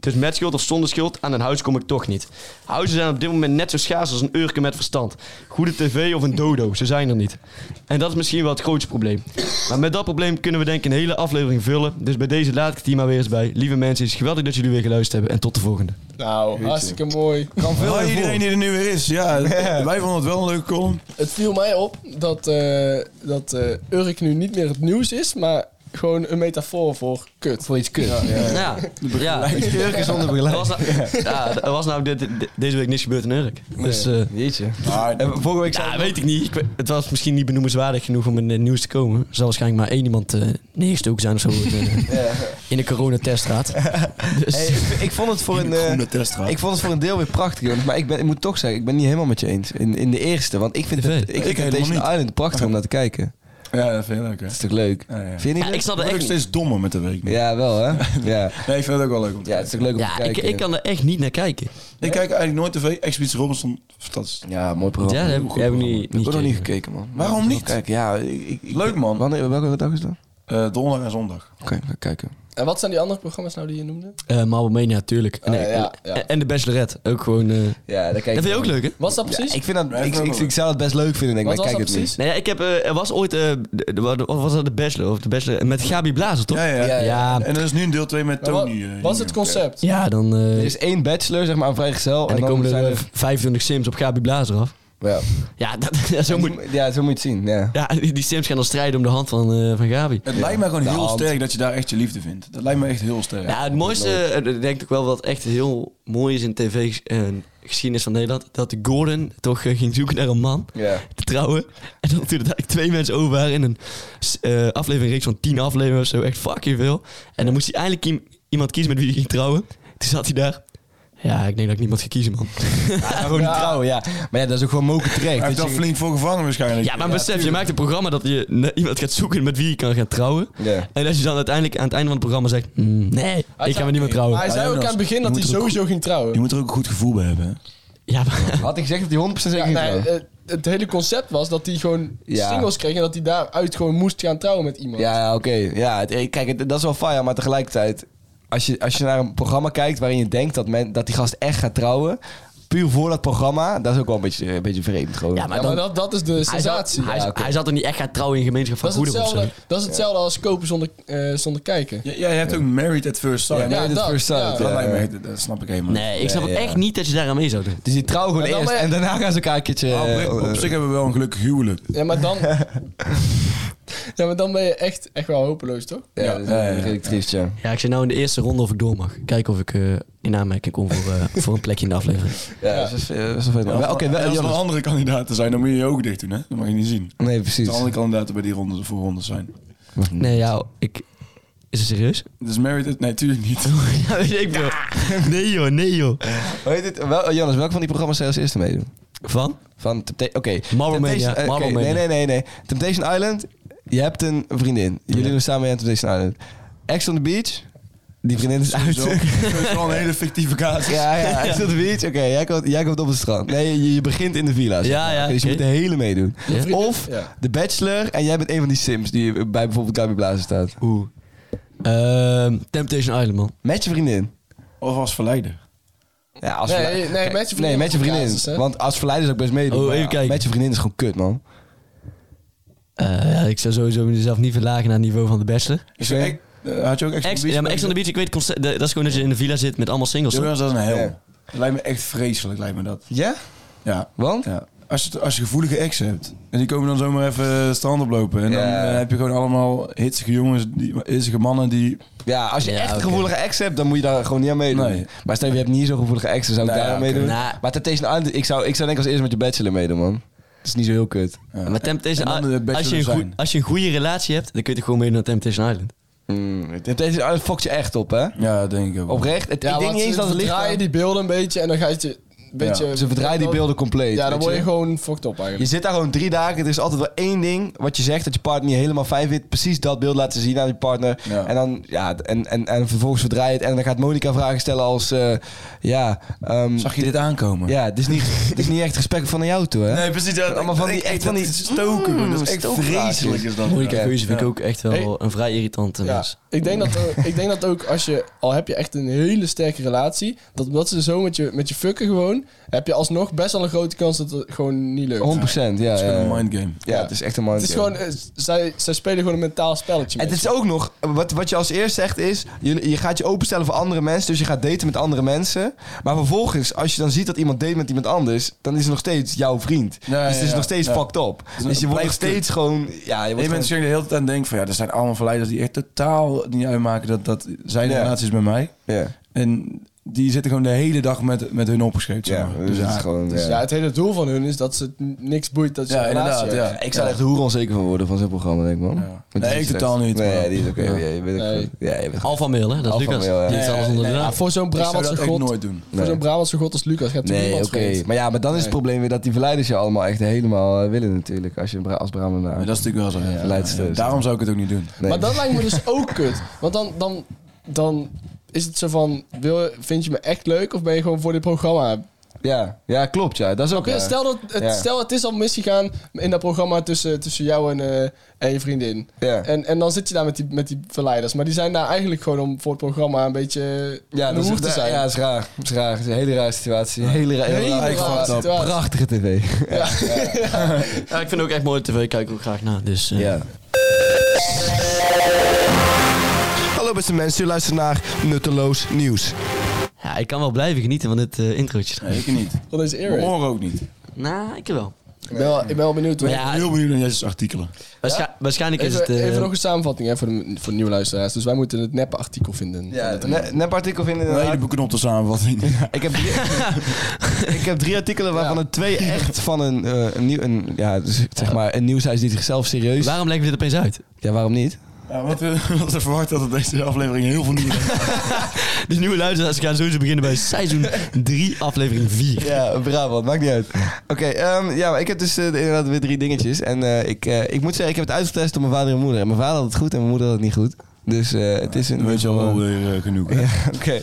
[SPEAKER 4] dus met schuld of zonder schuld, aan een huis kom ik toch niet. Huizen zijn op dit moment net zo schaars als een urke met verstand. Goede tv of een dodo, ze zijn er niet. En dat is misschien wel het grootste probleem. Maar met dat probleem kunnen we denk ik een hele aflevering vullen. Dus bij deze laat ik het hier maar weer eens bij. Lieve mensen, het is geweldig dat jullie weer geluisterd hebben. En tot de volgende.
[SPEAKER 5] Nou, hartstikke mooi.
[SPEAKER 3] Kan veel
[SPEAKER 5] Hoi,
[SPEAKER 3] iedereen die er nu weer is. Ja, wij vonden het wel een leuke column.
[SPEAKER 5] Het viel mij op dat, eh, dat eh, Urk nu niet meer het nieuws is, maar gewoon een metafoor voor kut.
[SPEAKER 2] Voor iets kut.
[SPEAKER 4] Ja, ja.
[SPEAKER 2] Urk is onder begeleid.
[SPEAKER 4] Er was, nou, ja, er was nou dit, dit- deze week niks gebeurd in Urk. Dus, eh,
[SPEAKER 2] Jeetje.
[SPEAKER 3] Maar
[SPEAKER 2] En vorige week zei
[SPEAKER 4] ja, weet ik niet. Ik, we- het was misschien niet benoemenswaardig genoeg om in het nieuws te komen. Er zal waarschijnlijk maar één iemand eh neergestoken zijn of zo. In, eh, in de coronateststraat. Dus,
[SPEAKER 2] Hey, ik- ik vond het voor een... eh,
[SPEAKER 3] teststraat.
[SPEAKER 2] Ik vond het voor een deel weer prachtig, jongens. Maar ik, ben, ik moet toch zeggen, ik ben niet helemaal met je eens. In, in de eerste, want ik vind
[SPEAKER 4] TV.
[SPEAKER 2] het, ik
[SPEAKER 3] Ik
[SPEAKER 2] vind het
[SPEAKER 3] helemaal
[SPEAKER 2] Temptation
[SPEAKER 3] niet.
[SPEAKER 2] Island prachtig om naar te kijken. Dat
[SPEAKER 3] Ja, dat vind ik leuk. Hè.
[SPEAKER 2] is toch leuk?
[SPEAKER 3] Ja, ja.
[SPEAKER 2] Vind je niet
[SPEAKER 4] ja,
[SPEAKER 2] leuk?
[SPEAKER 4] ik snap er
[SPEAKER 3] Dat is
[SPEAKER 4] echt niet.
[SPEAKER 3] steeds dommer met de week. nu.
[SPEAKER 2] Ja, wel hè? Ja.
[SPEAKER 3] Nee, ik vind het ook wel leuk om te
[SPEAKER 2] ja, het is
[SPEAKER 3] kijken.
[SPEAKER 2] toch leuk om te
[SPEAKER 4] Ja, ik,
[SPEAKER 2] kijken.
[SPEAKER 4] ik kan er echt niet naar kijken.
[SPEAKER 3] Ik kijk eigenlijk nooit tv. Expeditie Robinson, fantastisch.
[SPEAKER 2] Ja, mooi programma.
[SPEAKER 4] Ja, dat heb,
[SPEAKER 2] Goed
[SPEAKER 4] dat heb ik Eh,
[SPEAKER 2] programma.
[SPEAKER 4] niet,
[SPEAKER 2] Ik heb
[SPEAKER 4] niet
[SPEAKER 2] nog niet
[SPEAKER 4] gekeken.
[SPEAKER 2] gekeken, man.
[SPEAKER 3] Waarom
[SPEAKER 2] Ik wil
[SPEAKER 3] niet?
[SPEAKER 2] Kijken. Ja, ik, ik- ik-
[SPEAKER 3] Leuk man.
[SPEAKER 2] Wanneer, welke dag is dat?
[SPEAKER 3] Eh, donderdag en zondag.
[SPEAKER 2] Oké, we gaan kijken.
[SPEAKER 5] En wat zijn die andere programma's nou die je noemde?
[SPEAKER 4] Eh Marble Mania, natuurlijk.
[SPEAKER 5] Ah,
[SPEAKER 4] Nee,
[SPEAKER 5] ja,
[SPEAKER 4] en-
[SPEAKER 5] ja.
[SPEAKER 4] En de Bachelorette. Ook gewoon... eh,
[SPEAKER 2] Ja, dat kijk
[SPEAKER 4] dat vind je ook leuk, hè?
[SPEAKER 5] Was dat precies?
[SPEAKER 2] ik, vind dat,
[SPEAKER 3] dat
[SPEAKER 2] ik,
[SPEAKER 3] vind ik
[SPEAKER 2] ik,
[SPEAKER 3] ook
[SPEAKER 2] ik zou het best leuk vinden, denk ik,
[SPEAKER 5] Wat
[SPEAKER 2] maar ik
[SPEAKER 5] was
[SPEAKER 2] kijk
[SPEAKER 5] dat
[SPEAKER 2] het niet.
[SPEAKER 5] precies?
[SPEAKER 4] Nou ja, ik heb, eh, er was ooit... eh, de- de- wat was dat? De Bachelor? Of de Bachelor eh, met Gabi Blazer, toch?
[SPEAKER 3] Ja, ja.
[SPEAKER 2] Ja,
[SPEAKER 4] ja.
[SPEAKER 3] En er is nu een deel 2 met
[SPEAKER 5] Maar wa-
[SPEAKER 3] Tony. eh,
[SPEAKER 5] wat is
[SPEAKER 3] hier.
[SPEAKER 5] het concept?
[SPEAKER 4] Ja, dan... eh,
[SPEAKER 2] Er is één bachelor, zeg maar, een vrijgezel.
[SPEAKER 4] en dan, komen
[SPEAKER 2] zijn
[SPEAKER 4] er eh, 25 sims op Gabi Blazer af.
[SPEAKER 2] Ja.
[SPEAKER 4] Ja, dat, ja, zo moet,
[SPEAKER 2] ja, zo moet je het zien, ja.
[SPEAKER 4] ja die, die sims gaan dan strijden om de hand van, eh, van Gabi.
[SPEAKER 3] Het lijkt mij gewoon
[SPEAKER 2] De
[SPEAKER 3] heel
[SPEAKER 2] hand.
[SPEAKER 3] sterk dat je daar echt je liefde vindt. Dat lijkt me echt heel sterk.
[SPEAKER 4] Ja, het mooiste, eh, ik denk ik wel wat echt heel mooi is in tv-geschiedenis van Nederland, dat Gordon toch eh, ging zoeken naar een man
[SPEAKER 2] Ja.
[SPEAKER 4] te trouwen. En dat er eigenlijk twee mensen over waren in een s- eh aflevering, reeks van tien afleveringen of zo, echt fucking veel. En dan moest hij eindelijk kiem- iemand kiezen met wie hij ging trouwen. Toen zat hij daar. Ja, ik denk dat ik niemand ga kiezen, man.
[SPEAKER 2] Gewoon niet trouwen, ja. Maar ja, dat is ook gewoon moken terecht.
[SPEAKER 3] Hij
[SPEAKER 2] dat
[SPEAKER 3] heeft daar
[SPEAKER 2] je-
[SPEAKER 3] flink voor gevangen waarschijnlijk.
[SPEAKER 4] Ja, maar besef, je maakt een programma dat je ne- iemand gaat zoeken met wie je kan gaan trouwen.
[SPEAKER 2] Ja.
[SPEAKER 4] En als je dan uiteindelijk aan het einde van het programma zegt, "Mm, nee, ik ga met niemand
[SPEAKER 5] Maar hij
[SPEAKER 4] trouwen.
[SPEAKER 5] zei ook aan
[SPEAKER 3] Jonas,
[SPEAKER 5] het begin dat
[SPEAKER 3] je
[SPEAKER 5] hij
[SPEAKER 3] moet er ook-
[SPEAKER 5] sowieso ging
[SPEAKER 3] Je
[SPEAKER 5] trouwen.
[SPEAKER 3] moet er ook een goed gevoel bij hebben. hè.
[SPEAKER 4] Ja, maar...
[SPEAKER 2] Had ik gezegd dat hij 100% zeker
[SPEAKER 5] Ja,
[SPEAKER 2] ging
[SPEAKER 5] nee,
[SPEAKER 2] trouwen?
[SPEAKER 5] eh, het hele concept was dat hij gewoon
[SPEAKER 2] Ja.
[SPEAKER 5] singles kreeg en dat hij daaruit gewoon moest gaan trouwen met iemand.
[SPEAKER 2] eh, Ja, ja, oké. Ja, het- eh, kijk, het- dat is wel fire, maar tegelijkertijd... Als je, als je naar een programma kijkt waarin je denkt dat, men, dat die gast echt gaat trouwen... puur voor dat programma, dat is ook wel een beetje, een beetje vreemd gewoon.
[SPEAKER 4] Ja, maar
[SPEAKER 5] Ja, maar dat, dat is de
[SPEAKER 4] Hij zat,
[SPEAKER 5] sensatie.
[SPEAKER 4] hij,
[SPEAKER 5] Ja.
[SPEAKER 4] zat- hij zat er niet echt gaan trouwen in gemeenschap van
[SPEAKER 5] Dat is
[SPEAKER 4] goederen of zo.
[SPEAKER 5] hetzelfde, dat is hetzelfde als kopen zonder, eh, zonder kijken.
[SPEAKER 3] Ja, jij hebt ook Married at First Sight.
[SPEAKER 2] Ja,
[SPEAKER 3] Ja,
[SPEAKER 2] married at
[SPEAKER 5] dat,
[SPEAKER 2] first sight,
[SPEAKER 5] ja.
[SPEAKER 2] ja.
[SPEAKER 3] dat lijkt me echt- dat snap ik helemaal.
[SPEAKER 4] Nee, ik snap
[SPEAKER 2] Ja,
[SPEAKER 4] ook
[SPEAKER 2] ja.
[SPEAKER 4] echt niet dat je daar aan mee zou doen.
[SPEAKER 2] Dus die trouwen gewoon
[SPEAKER 5] Ja, dan
[SPEAKER 2] eerst
[SPEAKER 5] maar-
[SPEAKER 2] en daarna gaan ze elkaar een keertje...
[SPEAKER 3] Maar
[SPEAKER 2] eh,
[SPEAKER 3] op, op zich hebben we wel een gelukkig huwelijk.
[SPEAKER 5] Ja, maar dan, ja, maar dan ben je echt, echt wel hopeloos, toch?
[SPEAKER 2] ja, dat is
[SPEAKER 3] Ja, ja, ja.
[SPEAKER 2] redelijk triest, ja.
[SPEAKER 4] Ja, ik zit nou in de eerste ronde of ik door mag. Kijken of ik eh, in aanmerking kom voor, eh, voor een plekje in de aflevering.
[SPEAKER 2] Ja, dat is, eh, dat is wel vet, man.
[SPEAKER 3] En
[SPEAKER 2] Wel,
[SPEAKER 3] als,
[SPEAKER 2] Oké,
[SPEAKER 3] en
[SPEAKER 2] wel-
[SPEAKER 3] als er
[SPEAKER 2] Jonas.
[SPEAKER 3] andere kandidaten zijn, dan moet je je ook dicht doen. Hè? Dat mag je niet zien.
[SPEAKER 2] Nee,
[SPEAKER 3] Als
[SPEAKER 2] precies.
[SPEAKER 3] er andere kandidaten bij die ronde voor ronde zijn.
[SPEAKER 4] Nee, ja, ik... Is het serieus?
[SPEAKER 3] Dus Married at... Nee, tuurlijk niet.
[SPEAKER 4] ja, weet ik veel. Nee joh, nee joh.
[SPEAKER 2] Hoe heet het? Wel, Jonas, welke van die programma's zou je als eerste meedoen?
[SPEAKER 4] Van?
[SPEAKER 2] Van Tempta- Oké.
[SPEAKER 4] Marble Mania,
[SPEAKER 2] Temptation- eh, oké,
[SPEAKER 4] Marble Mania.
[SPEAKER 2] Nee, nee, nee, nee. Temptation Island. Je hebt een vriendin. Jullie doen samen mee aan Temptation Island. Ex on the Beach. Die vriendin is uit.
[SPEAKER 3] Zo, dat is wel een hele fictieve casus.
[SPEAKER 2] Ja, ja. Ex on the Beach. Oké, jij, komt, jij komt op het strand. Nee, je, je begint in de villa. zeg
[SPEAKER 4] Ja,
[SPEAKER 2] maar.
[SPEAKER 4] ja,
[SPEAKER 2] Oké, Dus je
[SPEAKER 4] oké.
[SPEAKER 2] moet de hele meedoen.
[SPEAKER 4] Ja.
[SPEAKER 2] Of
[SPEAKER 5] Ja.
[SPEAKER 2] The Bachelor en jij bent een van die sims die bij bijvoorbeeld Gabi Blazer staat.
[SPEAKER 4] Oeh. Ehm, Temptation Island, man.
[SPEAKER 2] Met je vriendin.
[SPEAKER 3] Of als verleider.
[SPEAKER 2] Ja, als
[SPEAKER 5] Nee,
[SPEAKER 2] verle-
[SPEAKER 5] nee,
[SPEAKER 2] Kijk,
[SPEAKER 5] met je vriendin
[SPEAKER 2] Nee, met je
[SPEAKER 5] op de
[SPEAKER 2] vriendin.
[SPEAKER 5] basis, hè?
[SPEAKER 2] Want als verleider zou ik best meedoen.
[SPEAKER 4] Oh,
[SPEAKER 2] maar
[SPEAKER 4] even
[SPEAKER 2] ja,
[SPEAKER 4] kijken.
[SPEAKER 2] Met je vriendin is gewoon kut, man.
[SPEAKER 4] Eh, ik zou sowieso mezelf niet verlagen naar het niveau van de bachelor.
[SPEAKER 3] Is er echt- eh, had je ook Ex on the Beach?
[SPEAKER 4] ja, maar Ex on the Beach, ik weet, het concept- de- dat is gewoon dat je in de villa zit met allemaal singles.
[SPEAKER 3] Ja,
[SPEAKER 4] toch?
[SPEAKER 3] dat is een hel. Dat lijkt me echt vreselijk, lijkt me dat.
[SPEAKER 2] Ja?
[SPEAKER 3] Ja.
[SPEAKER 2] Want?
[SPEAKER 3] Ja. Als je, als je gevoelige ex hebt. En die komen dan zomaar even het strand oplopen. En dan
[SPEAKER 2] Ja.
[SPEAKER 3] eh, heb je gewoon allemaal hitsige jongens, die, hitsige mannen die...
[SPEAKER 2] Ja, als je echt
[SPEAKER 4] oké.
[SPEAKER 2] gevoelige ex hebt, dan moet je daar gewoon niet aan meedoen.
[SPEAKER 3] Nee.
[SPEAKER 2] Maar stel je hebt niet zo'n gevoelige ex, dan zou ik
[SPEAKER 3] Nou
[SPEAKER 2] daar aan
[SPEAKER 3] ja, oké.
[SPEAKER 2] meedoen.
[SPEAKER 4] Nou.
[SPEAKER 2] Maar Temptation Island, ik zou, ik zou denk ik als eerste met je bachelor meedoen, man. Dat is niet zo heel kut.
[SPEAKER 3] Ja.
[SPEAKER 4] Maar Temptation
[SPEAKER 3] En dan de
[SPEAKER 4] Island, als je,
[SPEAKER 3] Bachelor
[SPEAKER 4] een goe-
[SPEAKER 3] zijn.
[SPEAKER 4] als je een goede relatie hebt, dan kun je toch gewoon meedoen naar Temptation Island.
[SPEAKER 2] Mm. Temptation Island fokt je echt op, hè?
[SPEAKER 3] Ja, dat denk ik ook.
[SPEAKER 2] Oprecht. Het,
[SPEAKER 5] Ja,
[SPEAKER 2] ik denk
[SPEAKER 5] want
[SPEAKER 2] niet eens
[SPEAKER 5] ze
[SPEAKER 2] dat het ligt
[SPEAKER 5] verdraaien
[SPEAKER 2] aan-
[SPEAKER 5] die beelden een beetje en dan ga je het je een beetje...
[SPEAKER 2] Ze verdraaien die beelden compleet.
[SPEAKER 5] Ja, dan
[SPEAKER 2] weet
[SPEAKER 5] word je
[SPEAKER 2] je.
[SPEAKER 5] gewoon fucked op eigenlijk.
[SPEAKER 2] Je zit daar gewoon drie dagen. Er is altijd wel één ding wat je zegt dat je partner niet helemaal fijn vindt. Precies dat beeld laten zien aan je partner.
[SPEAKER 3] Ja.
[SPEAKER 2] En dan, ja, en, en, en vervolgens verdraai je het. En dan gaat Monica vragen stellen als, eh, ja, ehm,
[SPEAKER 3] Zag je dit aankomen?
[SPEAKER 2] ja, dit is niet, dit is niet echt respect van jou toe, hè?
[SPEAKER 3] Nee, precies. Dat,
[SPEAKER 2] Allemaal van die-
[SPEAKER 3] echt
[SPEAKER 2] van die-
[SPEAKER 3] stoken. man. Mm, dat is echt
[SPEAKER 2] stookvraagjes.
[SPEAKER 3] vreselijk. Is dat.
[SPEAKER 4] Moeilijke
[SPEAKER 2] Ja.
[SPEAKER 4] keuze vind ik ook echt wel
[SPEAKER 5] Hey.
[SPEAKER 4] een vrij irritant
[SPEAKER 5] Ja,
[SPEAKER 4] mens.
[SPEAKER 5] ik denk, dat, ook- ik denk dat ook als je, al heb je echt een hele sterke relatie, dat omdat ze zo met je, met je fucken gewoon, heb je alsnog best wel een grote kans dat het gewoon niet lukt.
[SPEAKER 2] 100%, ja.
[SPEAKER 3] Het is gewoon
[SPEAKER 2] ja.
[SPEAKER 3] een mindgame.
[SPEAKER 2] Eh, Ja, het is echt een mindgame.
[SPEAKER 5] Het is gewoon, eh, zij, zij spelen gewoon een mentaal spelletje
[SPEAKER 2] En
[SPEAKER 5] met
[SPEAKER 2] het is ook nog, wat, wat je als eerst zegt is, je, je gaat je openstellen voor andere mensen, dus je gaat daten met andere mensen. Maar vervolgens, als je dan ziet dat iemand date met iemand anders, dan is het nog steeds jouw vriend.
[SPEAKER 3] Ja,
[SPEAKER 2] dus
[SPEAKER 3] ja,
[SPEAKER 2] het is
[SPEAKER 3] ja,
[SPEAKER 2] nog steeds
[SPEAKER 3] ja.
[SPEAKER 2] fucked up.
[SPEAKER 3] is
[SPEAKER 2] Dus, je
[SPEAKER 3] een-
[SPEAKER 2] wordt nog
[SPEAKER 3] blijft kut.
[SPEAKER 2] steeds gewoon, ja, je
[SPEAKER 3] Je
[SPEAKER 2] wordt
[SPEAKER 3] bent
[SPEAKER 2] gewoon-
[SPEAKER 3] natuurlijk de hele tijd aan het denken van... Ja, er zijn allemaal verleiders die echt totaal niet uitmaken dat, dat zijn
[SPEAKER 2] Ja.
[SPEAKER 3] relaties met mij.
[SPEAKER 2] Ja,
[SPEAKER 3] En die zitten gewoon de hele dag met, met hun opgeschreven. zeg
[SPEAKER 2] ja,
[SPEAKER 3] maar.
[SPEAKER 2] dus het is
[SPEAKER 3] ja,
[SPEAKER 2] gewoon,
[SPEAKER 5] Dus
[SPEAKER 2] ja.
[SPEAKER 5] ja, het hele doel van hun is dat ze het n- niks boeit dat ze
[SPEAKER 3] Ja,
[SPEAKER 5] een relatie
[SPEAKER 3] inderdaad,
[SPEAKER 5] hebben.
[SPEAKER 3] ja.
[SPEAKER 2] Ik zou er echt hoer onzeker van worden van zo'n programma, denk ik, man. Want die
[SPEAKER 3] Nee,
[SPEAKER 2] is
[SPEAKER 3] ik
[SPEAKER 2] slecht.
[SPEAKER 3] totaal niet,
[SPEAKER 2] Nee,
[SPEAKER 3] man.
[SPEAKER 2] ja, die is oké.
[SPEAKER 3] Ja.
[SPEAKER 2] Ja, je bent ook
[SPEAKER 5] Nee.
[SPEAKER 2] goed. Ja, je bent goed.
[SPEAKER 4] Alpha male, hè? Dat is
[SPEAKER 2] Alpha
[SPEAKER 4] Lucas.
[SPEAKER 2] male, ja.
[SPEAKER 4] Die heeft
[SPEAKER 3] Nee,
[SPEAKER 4] alles onder de
[SPEAKER 5] Ja,
[SPEAKER 4] naam.
[SPEAKER 5] voor zo'n
[SPEAKER 3] Ik zou
[SPEAKER 5] Brabantse
[SPEAKER 3] dat echt
[SPEAKER 5] god,
[SPEAKER 3] nooit doen.
[SPEAKER 5] voor zo'n Brabantse god als Lucas gaat er
[SPEAKER 2] Nee, oké.
[SPEAKER 5] niemand weten.
[SPEAKER 2] Maar ja, maar dan is het
[SPEAKER 5] Nee.
[SPEAKER 2] probleem weer dat die verleiders je allemaal echt helemaal eh, willen natuurlijk. Als je een Bra- als Brabant
[SPEAKER 3] Maar dat is natuurlijk wel zo. ja.
[SPEAKER 2] Verleidster is het.
[SPEAKER 3] Daarom zou ik het ook niet doen.
[SPEAKER 5] Maar dat lijkt me dus ook kut. Want dan, dan, dan is het zo van, wil, vind je me echt leuk of ben je gewoon voor dit programma?
[SPEAKER 2] Ja, ja, klopt. Ja. Dat is ook. eh,
[SPEAKER 5] Oké,
[SPEAKER 2] ja.
[SPEAKER 5] Stel, dat het,
[SPEAKER 2] Ja.
[SPEAKER 5] stel het is al misgegaan in dat programma tussen, tussen jou en, eh, en je vriendin.
[SPEAKER 2] Ja.
[SPEAKER 5] En, en dan zit je daar met die, met die verleiders. Maar die zijn daar eigenlijk gewoon om voor het programma een beetje
[SPEAKER 2] ja,
[SPEAKER 5] een
[SPEAKER 2] dat
[SPEAKER 5] hoer
[SPEAKER 2] is,
[SPEAKER 5] te zijn.
[SPEAKER 2] Ja, dat is raar. Dat is raar. Het is een hele rare situatie. Hele, ra-
[SPEAKER 5] Hele
[SPEAKER 2] raar.
[SPEAKER 5] rare
[SPEAKER 2] Ik vond het wel
[SPEAKER 5] situatie.
[SPEAKER 2] Prachtige tv.
[SPEAKER 4] Ja, ik vind ook echt mooi tv, ik kijk ook graag naar. Dus, eh,
[SPEAKER 2] Hallo beste mensen, u luistert naar Nutteloos Nieuws.
[SPEAKER 4] ja, ik kan wel blijven genieten van dit eh, introotje.
[SPEAKER 3] Nee, ik niet.
[SPEAKER 5] Van deze
[SPEAKER 3] Mijn
[SPEAKER 5] earring.
[SPEAKER 3] oren ook niet.
[SPEAKER 4] Nou, ik wel.
[SPEAKER 5] Ik ben wel, ik ben wel benieuwd. hoor.
[SPEAKER 4] Maar ja,
[SPEAKER 3] Heel benieuwd naar Jesse's artikelen.
[SPEAKER 4] waarsch- waarschijnlijk is
[SPEAKER 5] Even,
[SPEAKER 4] het... eh,
[SPEAKER 5] even nog een samenvatting hè, voor, de, voor de nieuwe luisteraars. Dus wij moeten het neppe artikel vinden.
[SPEAKER 2] Ja, ne- nep artikel vinden
[SPEAKER 3] Een hele
[SPEAKER 2] inderdaad.
[SPEAKER 3] beknopte samenvatting.
[SPEAKER 2] Ik heb, drie, ik heb drie artikelen waarvan er twee echt van een, eh, een, nieuw, een, ja, dus zeg maar een nieuwshuis die zichzelf serieus...
[SPEAKER 4] waarom leggen we dit opeens uit?
[SPEAKER 2] Ja, waarom niet?
[SPEAKER 3] Ja, wat we hadden verwacht dat het deze aflevering heel veel nieuws is.
[SPEAKER 4] De nieuwe luisteraars gaan sowieso beginnen bij seizoen 3, aflevering 4.
[SPEAKER 2] Ja, Brabant, maakt niet uit. Oké, ehm, ja, maar ik heb dus eh, inderdaad weer drie dingetjes. En eh, ik, eh, ik moet zeggen, ik heb het uitgetest op mijn vader en mijn moeder. En mijn vader had het goed en mijn moeder had het niet goed. Dus eh, het is een...
[SPEAKER 3] Dan weet je al wel weer eh, genoeg. hè?
[SPEAKER 2] Ja, oké.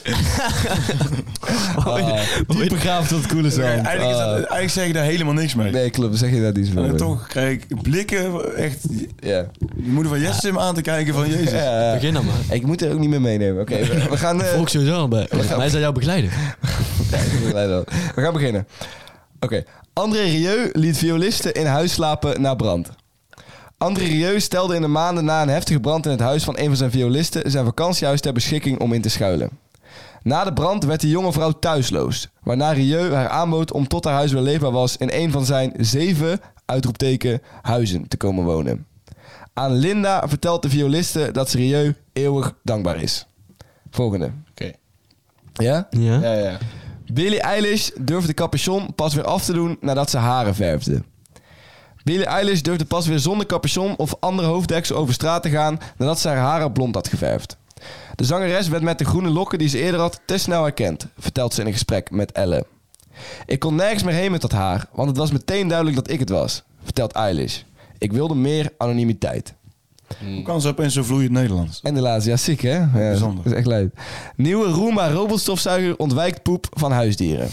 [SPEAKER 3] Oh,
[SPEAKER 4] Die begraaft tot coole
[SPEAKER 3] Nee, eigenlijk, is dat, eigenlijk zeg ik daar helemaal niks mee.
[SPEAKER 2] Nee, klopt. Dan zeg je dat iets
[SPEAKER 3] En
[SPEAKER 2] meer.
[SPEAKER 3] dan Eh, toch krijg ik blikken, echt, je
[SPEAKER 2] Ja.
[SPEAKER 3] moeder van Jesse hem aan te kijken van Jezus.
[SPEAKER 2] Ja, ja.
[SPEAKER 4] Begin dan maar.
[SPEAKER 2] Ik moet er ook niet meer meenemen. Oké, we, we gaan... eh,
[SPEAKER 4] Volg sowieso al bij. Wij zijn jou begeleiden.
[SPEAKER 2] we gaan beginnen. Oké. André Rieu liet violisten in huis slapen na brand. André Rieu stelde in de maanden na een heftige brand in het huis van een van zijn violisten zijn vakantiehuis ter beschikking om in te schuilen. Na de brand werd de jonge vrouw thuisloos, waarna Rieu haar aanbood om tot haar huis weer leefbaar was in een van zijn zeven uitroepteken huizen te komen wonen. Aan Linda vertelt de violiste dat ze Rieu eeuwig dankbaar is. Volgende.
[SPEAKER 5] Oké.
[SPEAKER 2] Ja?
[SPEAKER 4] Ja.
[SPEAKER 5] Ja, ja.
[SPEAKER 2] Billie Eilish durfde capuchon pas weer af te doen nadat ze haren verfde. Billie Eilish durfde pas weer zonder capuchon of andere hoofddeksel over straat te gaan nadat ze haar haren blond had geverfd. De zangeres werd met de groene lokken die ze eerder had te snel herkend, vertelt ze in een gesprek met Elle. Ik kon nergens meer heen met dat haar, want het was meteen duidelijk dat ik het was, vertelt Eilish. Ik wilde meer anonimiteit.
[SPEAKER 3] Hoe kan ze opeens zo vloeiend Nederlands?
[SPEAKER 2] En de laatste, ja, ziek hè? Ja,
[SPEAKER 3] Bijzonder.
[SPEAKER 2] Dat is echt leuk. Nieuwe Roomba robotstofzuiger ontwijkt poep van huisdieren.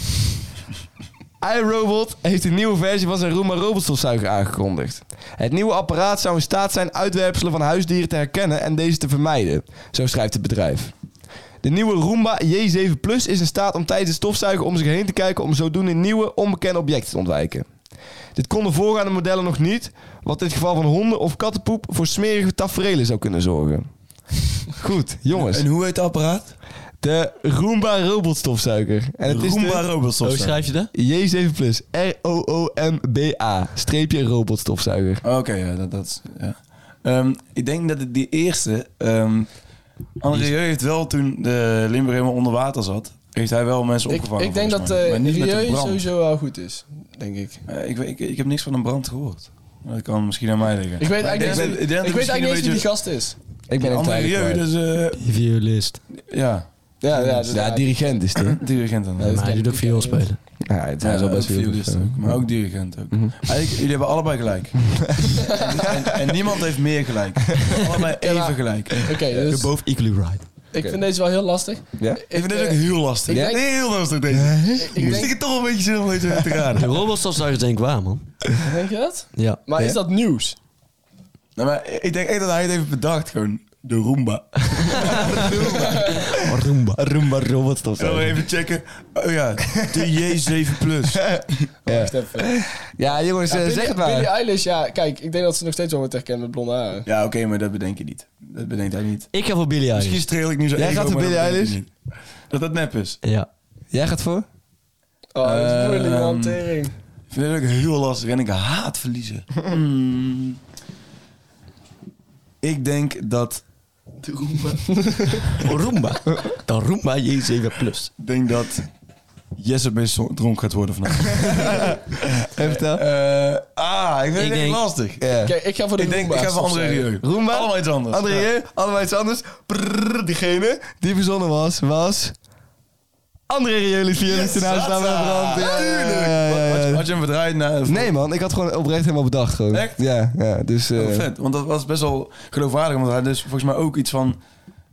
[SPEAKER 2] iRobot heeft een nieuwe versie van zijn Roomba robotstofzuiger aangekondigd. Het nieuwe apparaat zou in staat zijn uitwerpselen van huisdieren te herkennen en deze te vermijden. Zo schrijft het bedrijf. De nieuwe Roomba J7 Plus is in staat om tijdens het stofzuigen om zich heen te kijken om zodoende nieuwe, onbekende objecten te ontwijken. Dit konden voorgaande modellen nog niet, wat in het geval van honden of kattenpoep voor smerige tafereelen zou kunnen zorgen. Goed, jongens.
[SPEAKER 3] En hoe heet het apparaat?
[SPEAKER 2] De Roomba robotstofzuiger. En het is
[SPEAKER 3] Roomba
[SPEAKER 2] de-
[SPEAKER 4] Hoe
[SPEAKER 3] robotstofzuiger.
[SPEAKER 4] Oh, schrijf je dat?
[SPEAKER 2] J7 plus R-O-O-M-B-A streepje robotstofzuiger.
[SPEAKER 3] Oh, Oké, ja, dat, dat is... Ja. Ehm, ik denk dat het die eerste... ehm André Rieu heeft wel toen de Limburg helemaal onder water zat... heeft hij wel mensen
[SPEAKER 5] Ik,
[SPEAKER 3] opgevangen.
[SPEAKER 5] ik denk dat
[SPEAKER 3] volgens
[SPEAKER 5] eh
[SPEAKER 3] mij. Maar niet met de
[SPEAKER 5] Rieu
[SPEAKER 3] brand.
[SPEAKER 5] sowieso wel goed is, denk ik.
[SPEAKER 3] Eh, ik, weet- ik, ik heb niks van een brand gehoord. Dat kan misschien aan mij liggen.
[SPEAKER 5] Ik weet
[SPEAKER 3] Maar
[SPEAKER 5] eigenlijk niet-
[SPEAKER 3] denk- denk dat
[SPEAKER 5] ik weet
[SPEAKER 3] misschien
[SPEAKER 5] eigenlijk niet eens wie
[SPEAKER 3] een
[SPEAKER 5] die gast is.
[SPEAKER 2] Ik ben
[SPEAKER 3] beetje-
[SPEAKER 2] een
[SPEAKER 3] André
[SPEAKER 2] tijdje
[SPEAKER 3] Rieu,
[SPEAKER 2] kwijt.
[SPEAKER 3] dus... eh,
[SPEAKER 4] Violist.
[SPEAKER 3] ja,
[SPEAKER 5] Ja, ja, dus
[SPEAKER 2] Ja, dirigent is dit.
[SPEAKER 3] dirigent dan.
[SPEAKER 5] dat is
[SPEAKER 3] Ja,
[SPEAKER 4] Maar hij doet ook viool spelen.
[SPEAKER 2] Ja, het zijn zo
[SPEAKER 3] ook
[SPEAKER 2] best
[SPEAKER 3] violist
[SPEAKER 2] veel.
[SPEAKER 3] dus
[SPEAKER 2] dus, eh,
[SPEAKER 3] ook, maar ook dirigent ook.
[SPEAKER 5] Mhm.
[SPEAKER 3] Eigenlijk, jullie hebben allebei gelijk. en, en, en niemand heeft meer gelijk. Allebei even gelijk. Ik
[SPEAKER 5] Oké, dus
[SPEAKER 4] Boven Equally Right.
[SPEAKER 5] ik vind deze wel heel lastig.
[SPEAKER 2] Ja?
[SPEAKER 3] vind dit ook
[SPEAKER 5] eh,
[SPEAKER 3] heel lastig.
[SPEAKER 5] ik denk-
[SPEAKER 3] heel lastig deze. Ik
[SPEAKER 5] denk-
[SPEAKER 3] denk het toch een beetje zin om deze te raden.
[SPEAKER 4] De robotstofzuiger is denk ik waar, man.
[SPEAKER 5] Denk je dat?
[SPEAKER 4] Ja.
[SPEAKER 5] Maar is dat nieuws?
[SPEAKER 3] Nou, maar ik denk echt dat hij het heeft bedacht gewoon. De Roomba.
[SPEAKER 4] Roomba. Roomba
[SPEAKER 3] Zullen we
[SPEAKER 4] robotstofzuiger.
[SPEAKER 3] even checken? Oh ja, de J7 Plus.
[SPEAKER 5] Wacht even.
[SPEAKER 2] Ja, jongens, eh,
[SPEAKER 5] Billie-
[SPEAKER 2] zeg het
[SPEAKER 5] Billie
[SPEAKER 2] maar.
[SPEAKER 5] Eilish, ja, kijk, ik denk dat ze nog steeds wel wordt herkend met blonde haren.
[SPEAKER 3] Ja, oké, maar dat bedenk je niet. Dat bedenkt hij niet.
[SPEAKER 4] Ik ga voor Billy Eilish.
[SPEAKER 3] Misschien streel ik nu zo
[SPEAKER 2] Jij
[SPEAKER 3] ego,
[SPEAKER 2] gaat voor
[SPEAKER 3] maar
[SPEAKER 2] Billie
[SPEAKER 3] dat bedenk ik
[SPEAKER 2] Eilish?
[SPEAKER 3] niet. Dat dat nep is.
[SPEAKER 4] Ja.
[SPEAKER 2] Jij gaat voor?
[SPEAKER 5] Oh, dat is
[SPEAKER 3] Ehm,
[SPEAKER 5] moeilijk, man, tering.
[SPEAKER 3] Ik vind het ook heel lastig en ik haat verliezen. Hmm. Ik denk dat...
[SPEAKER 4] Roomba. Dan Roomba J7 Plus.
[SPEAKER 3] Ik denk dat... Jesse best dronk gaat worden vandaag.
[SPEAKER 2] Even vertel.
[SPEAKER 3] Eh, ah, ik vind
[SPEAKER 4] Ik
[SPEAKER 3] het echt
[SPEAKER 4] denk-
[SPEAKER 3] lastig.
[SPEAKER 2] Ja.
[SPEAKER 5] Kijk, ik ga voor de
[SPEAKER 3] Ik denk, ik
[SPEAKER 5] Roomba's
[SPEAKER 3] ga voor
[SPEAKER 5] of
[SPEAKER 3] André
[SPEAKER 5] zo.
[SPEAKER 3] Rieu.
[SPEAKER 2] Roomba?
[SPEAKER 3] Allemaal iets anders.
[SPEAKER 2] André,
[SPEAKER 3] Ja.
[SPEAKER 2] Rieu, allemaal iets anders. Prrr, diegene die verzonnen was, was... André Rieu liet violist in huis
[SPEAKER 3] Zaza.
[SPEAKER 2] staan met een brand. Ja,
[SPEAKER 3] Ah, Tuurlijk.
[SPEAKER 2] ja, ja, ja,
[SPEAKER 3] Had je-
[SPEAKER 2] ja.
[SPEAKER 3] Had je hem nou, verdraaid? naar?
[SPEAKER 2] Nee man, ik had gewoon oprecht helemaal bedacht gewoon.
[SPEAKER 3] Echt?
[SPEAKER 2] Ja, ja dus... eh,
[SPEAKER 3] Oh, vet, want dat was best wel geloofwaardig. Want hij had dus volgens mij ook iets van...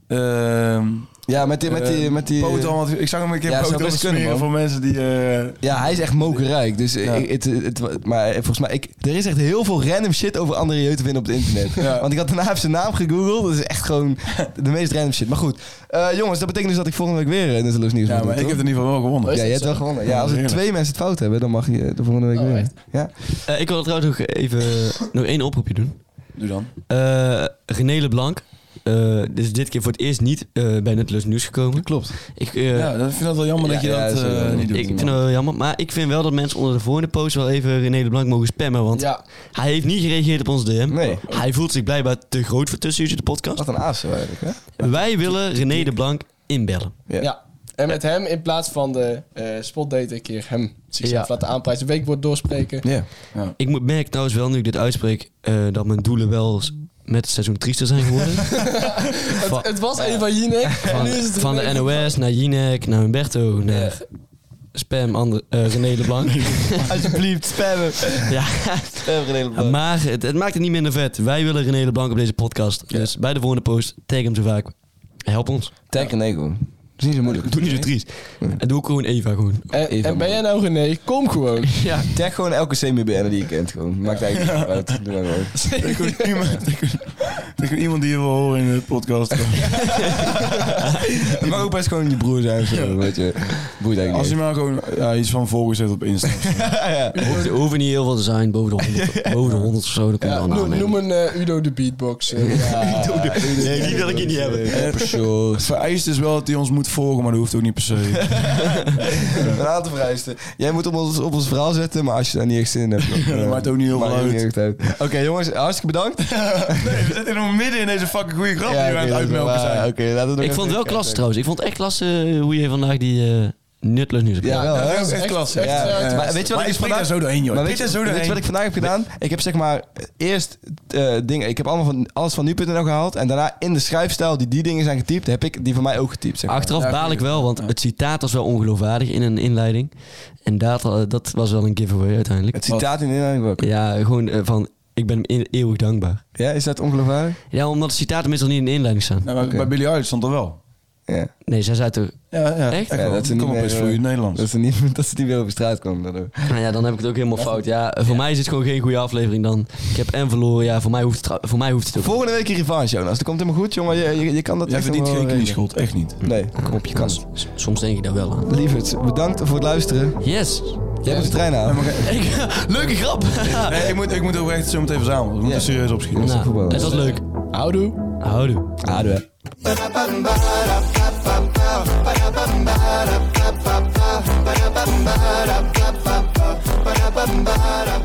[SPEAKER 3] ehm
[SPEAKER 2] ja, met die... Met die,
[SPEAKER 3] eh,
[SPEAKER 2] met die
[SPEAKER 3] boterham had- ik zag hem een keer
[SPEAKER 2] Ja,
[SPEAKER 3] ja,
[SPEAKER 2] zou
[SPEAKER 3] boterham
[SPEAKER 2] best kunnen,
[SPEAKER 3] smeren
[SPEAKER 2] man.
[SPEAKER 3] voor mensen die... eh,
[SPEAKER 2] ja, hij is echt mokerrijk. Dus eh,
[SPEAKER 3] Ja.
[SPEAKER 2] ik- het, het, het- maar eh, volgens mij, ik, er is echt heel veel random shit over André Rieu te vinden op het internet.
[SPEAKER 3] Ja.
[SPEAKER 2] Want ik had daarna even zijn naam gegoogeld. Dat is echt gewoon de meest random shit. Maar goed, Eh, jongens, dat betekent dus dat ik volgende week weer eh, Nutteloos Nieuws
[SPEAKER 3] ja,
[SPEAKER 2] moet
[SPEAKER 3] maar
[SPEAKER 2] doen,
[SPEAKER 3] ik
[SPEAKER 2] toch?
[SPEAKER 3] heb in ieder geval wel gewonnen.
[SPEAKER 2] Ja, je hebt wel gewonnen. Ja, als er
[SPEAKER 3] Heerlijk.
[SPEAKER 2] twee mensen het fout hebben, dan mag je eh, de volgende week
[SPEAKER 5] Oh,
[SPEAKER 2] weer.
[SPEAKER 5] echt?
[SPEAKER 2] Ja?
[SPEAKER 4] Eh, ik wil trouwens nog even nog één oproepje doen.
[SPEAKER 3] Doe dan.
[SPEAKER 4] Eh René Leblanc. eh dus dit keer voor het eerst niet eh, bij Nutteloos Nieuws gekomen.
[SPEAKER 2] Klopt.
[SPEAKER 4] Ik, eh,
[SPEAKER 3] Ja, dat vind ik wel jammer dat
[SPEAKER 2] Ja,
[SPEAKER 3] je
[SPEAKER 2] ja,
[SPEAKER 3] dat
[SPEAKER 2] dat is wel
[SPEAKER 3] eh, niet doet.
[SPEAKER 4] ik vind dat wel jammer. Maar ik vind wel dat mensen onder de volgende post wel even René Leblanc mogen spammen. Want
[SPEAKER 5] Ja,
[SPEAKER 4] hij heeft niet gereageerd op ons DM.
[SPEAKER 2] Nee.
[SPEAKER 4] Hij voelt zich blijkbaar te groot voor tussen jullie de podcast.
[SPEAKER 2] Wat een aas zo eigenlijk, hè?
[SPEAKER 4] Wij willen René Leblanc inbellen.
[SPEAKER 2] Ja.
[SPEAKER 5] ja. En met hem in plaats van de eh spotdate een keer hem zichzelf
[SPEAKER 4] Ja.
[SPEAKER 5] laten aanprijzen. Weekwoord doorspreken.
[SPEAKER 2] Ja.
[SPEAKER 4] Ik moet- merk trouwens wel, nu ik dit uitspreek, eh, dat mijn doelen wel s- met het seizoen triester zijn geworden. van,
[SPEAKER 5] Het was een van Jinek. en
[SPEAKER 4] van-
[SPEAKER 5] nu is het
[SPEAKER 4] van de
[SPEAKER 5] René.
[SPEAKER 4] NOS naar Jinek, naar Humberto, naar Spam, ander, eh, René Leblanc.
[SPEAKER 2] Alsjeblieft, spammen.
[SPEAKER 4] ja. Maar het, het maakt het niet minder vet. Wij willen René Leblanc op deze podcast. Dus bij de volgende post, tag hem zo vaak. Help ons.
[SPEAKER 2] Tag en ego. Dat is niet zo moeilijk.
[SPEAKER 4] Doe niet zo triest. En doe ook gewoon Eva gewoon.
[SPEAKER 5] En,
[SPEAKER 2] Even
[SPEAKER 5] en ben jij nou René? Kom gewoon.
[SPEAKER 2] Ja. Tag gewoon elke CMBN die je kent. Gewoon. Maakt eigenlijk niet uit. Doe maar gewoon.
[SPEAKER 3] Tegen iemand, tegen- tegen iemand die je wil horen in de podcast.
[SPEAKER 2] Het mag ook best gewoon je broer zijn. Zo, weet je. Boeit eigenlijk
[SPEAKER 3] Als
[SPEAKER 2] niet.
[SPEAKER 3] hij maar gewoon ja, iets van volgers heeft op Insta.
[SPEAKER 4] Hoeft- Er hoeven niet heel veel te zijn, boven de 100, boven de 100 of zo. Dat kan je
[SPEAKER 5] Ja,
[SPEAKER 4] wel
[SPEAKER 5] noem,
[SPEAKER 4] namen.
[SPEAKER 5] noem een eh, Udo de beatbox. eh, ja.
[SPEAKER 4] Nee, die wil ik hier niet hebben.
[SPEAKER 2] Eh, persoon.
[SPEAKER 3] Het vereist is wel dat hij ons moet volgen, maar dat hoeft ook niet per se.
[SPEAKER 2] Een aantal vereisten. Jij moet op ons, op ons verhaal zetten, maar als je daar niet echt zin in hebt... dan,
[SPEAKER 3] dat
[SPEAKER 2] eh,
[SPEAKER 3] maakt ook niet heel
[SPEAKER 2] maakt
[SPEAKER 3] veel
[SPEAKER 2] ook niet
[SPEAKER 3] uit.
[SPEAKER 2] echt uit. Oké jongens, hartstikke bedankt.
[SPEAKER 3] Nee, we zitten nog midden in deze fucking goede grap die we aan
[SPEAKER 2] oké,
[SPEAKER 3] het
[SPEAKER 2] dat is wel
[SPEAKER 3] uitmelken
[SPEAKER 2] waar.
[SPEAKER 3] zijn.
[SPEAKER 2] Oké, laten we nog
[SPEAKER 4] Ik
[SPEAKER 2] even
[SPEAKER 4] vond het wel
[SPEAKER 2] kijken.
[SPEAKER 4] klasse trouwens. Ik vond het echt klasse eh, hoe je vandaag die eh nutteloos nieuws hebt
[SPEAKER 2] Ja,
[SPEAKER 4] gedaan.
[SPEAKER 2] wel, hè?
[SPEAKER 3] Dat is echt klasse.
[SPEAKER 5] echt, eh,
[SPEAKER 2] Ja,
[SPEAKER 5] echt
[SPEAKER 2] maar weet je wat
[SPEAKER 3] Maar
[SPEAKER 2] ik
[SPEAKER 3] ik
[SPEAKER 2] dus
[SPEAKER 3] spreek
[SPEAKER 2] vandaag
[SPEAKER 3] daar zo doorheen, joh.
[SPEAKER 2] Maar
[SPEAKER 3] Ik
[SPEAKER 2] weet,
[SPEAKER 3] prik daar zo
[SPEAKER 2] je- weet je wat
[SPEAKER 3] doorheen.
[SPEAKER 2] ik vandaag heb gedaan? Ik heb zeg maar eerst eh, dingen. Ik heb allemaal van, alles van nu.nl gehaald. En daarna in de schrijfstijl die die dingen zijn getypt, heb ik die van mij ook getypt. Zeg maar.
[SPEAKER 4] Achteraf baal ik wel, want het citaat was wel ongeloofwaardig in een inleiding. En dat, eh, dat was wel een giveaway uiteindelijk.
[SPEAKER 2] Het citaat in de inleiding ook.
[SPEAKER 4] Ja, gewoon eh, van, ik ben hem in- eeuwig dankbaar.
[SPEAKER 2] Ja, is dat ongeloofwaardig?
[SPEAKER 4] Ja, omdat de citaten meestal niet in de inleiding staan.
[SPEAKER 3] Nou, maar Bij Billy Eilish stond er wel.
[SPEAKER 2] Ja.
[SPEAKER 4] Nee, zij zei toch...
[SPEAKER 3] Ja, ja.
[SPEAKER 4] Echt?
[SPEAKER 2] Ja,
[SPEAKER 3] wel.
[SPEAKER 2] dat ze
[SPEAKER 3] Kom
[SPEAKER 2] niet
[SPEAKER 3] op,
[SPEAKER 2] meer,
[SPEAKER 3] eens voor
[SPEAKER 2] eh,
[SPEAKER 3] je Nederlands.
[SPEAKER 2] Dat ze niet, dat ze niet meer over straat komen. daardoor.
[SPEAKER 4] Nou ja, dan heb ik het ook helemaal fout. Ja, voor mij is het gewoon geen goede aflevering dan. Ik heb en verloren. Ja, voor mij hoeft het, trouw- voor mij hoeft het ook.
[SPEAKER 2] Volgende week een revanche, Jonas. Dat komt helemaal goed, jongen. Je, je, je kan dat
[SPEAKER 3] Jij
[SPEAKER 2] echt
[SPEAKER 3] verdient geen
[SPEAKER 2] helemaal regelen.
[SPEAKER 3] knieschuld, echt niet.
[SPEAKER 2] Nee,
[SPEAKER 4] Kom op, je kan. Soms denk ik daar wel aan.
[SPEAKER 2] lieverds, bedankt voor het luisteren.
[SPEAKER 4] Yes.
[SPEAKER 2] Jij moet de trein halen.
[SPEAKER 4] Leuke grap.
[SPEAKER 3] Nee, ik moet, ik moet ook echt zo meteen verzamelen. We moeten serieus opschieten.
[SPEAKER 2] Nou, voetballen.
[SPEAKER 4] Is dat leuk?
[SPEAKER 5] Houdoe.
[SPEAKER 4] Houdoe.
[SPEAKER 2] Ado, hè.
[SPEAKER 6] Ba-da-bum-ba-da, ba-da-bum-ba-da, ba-da-bum-ba-da.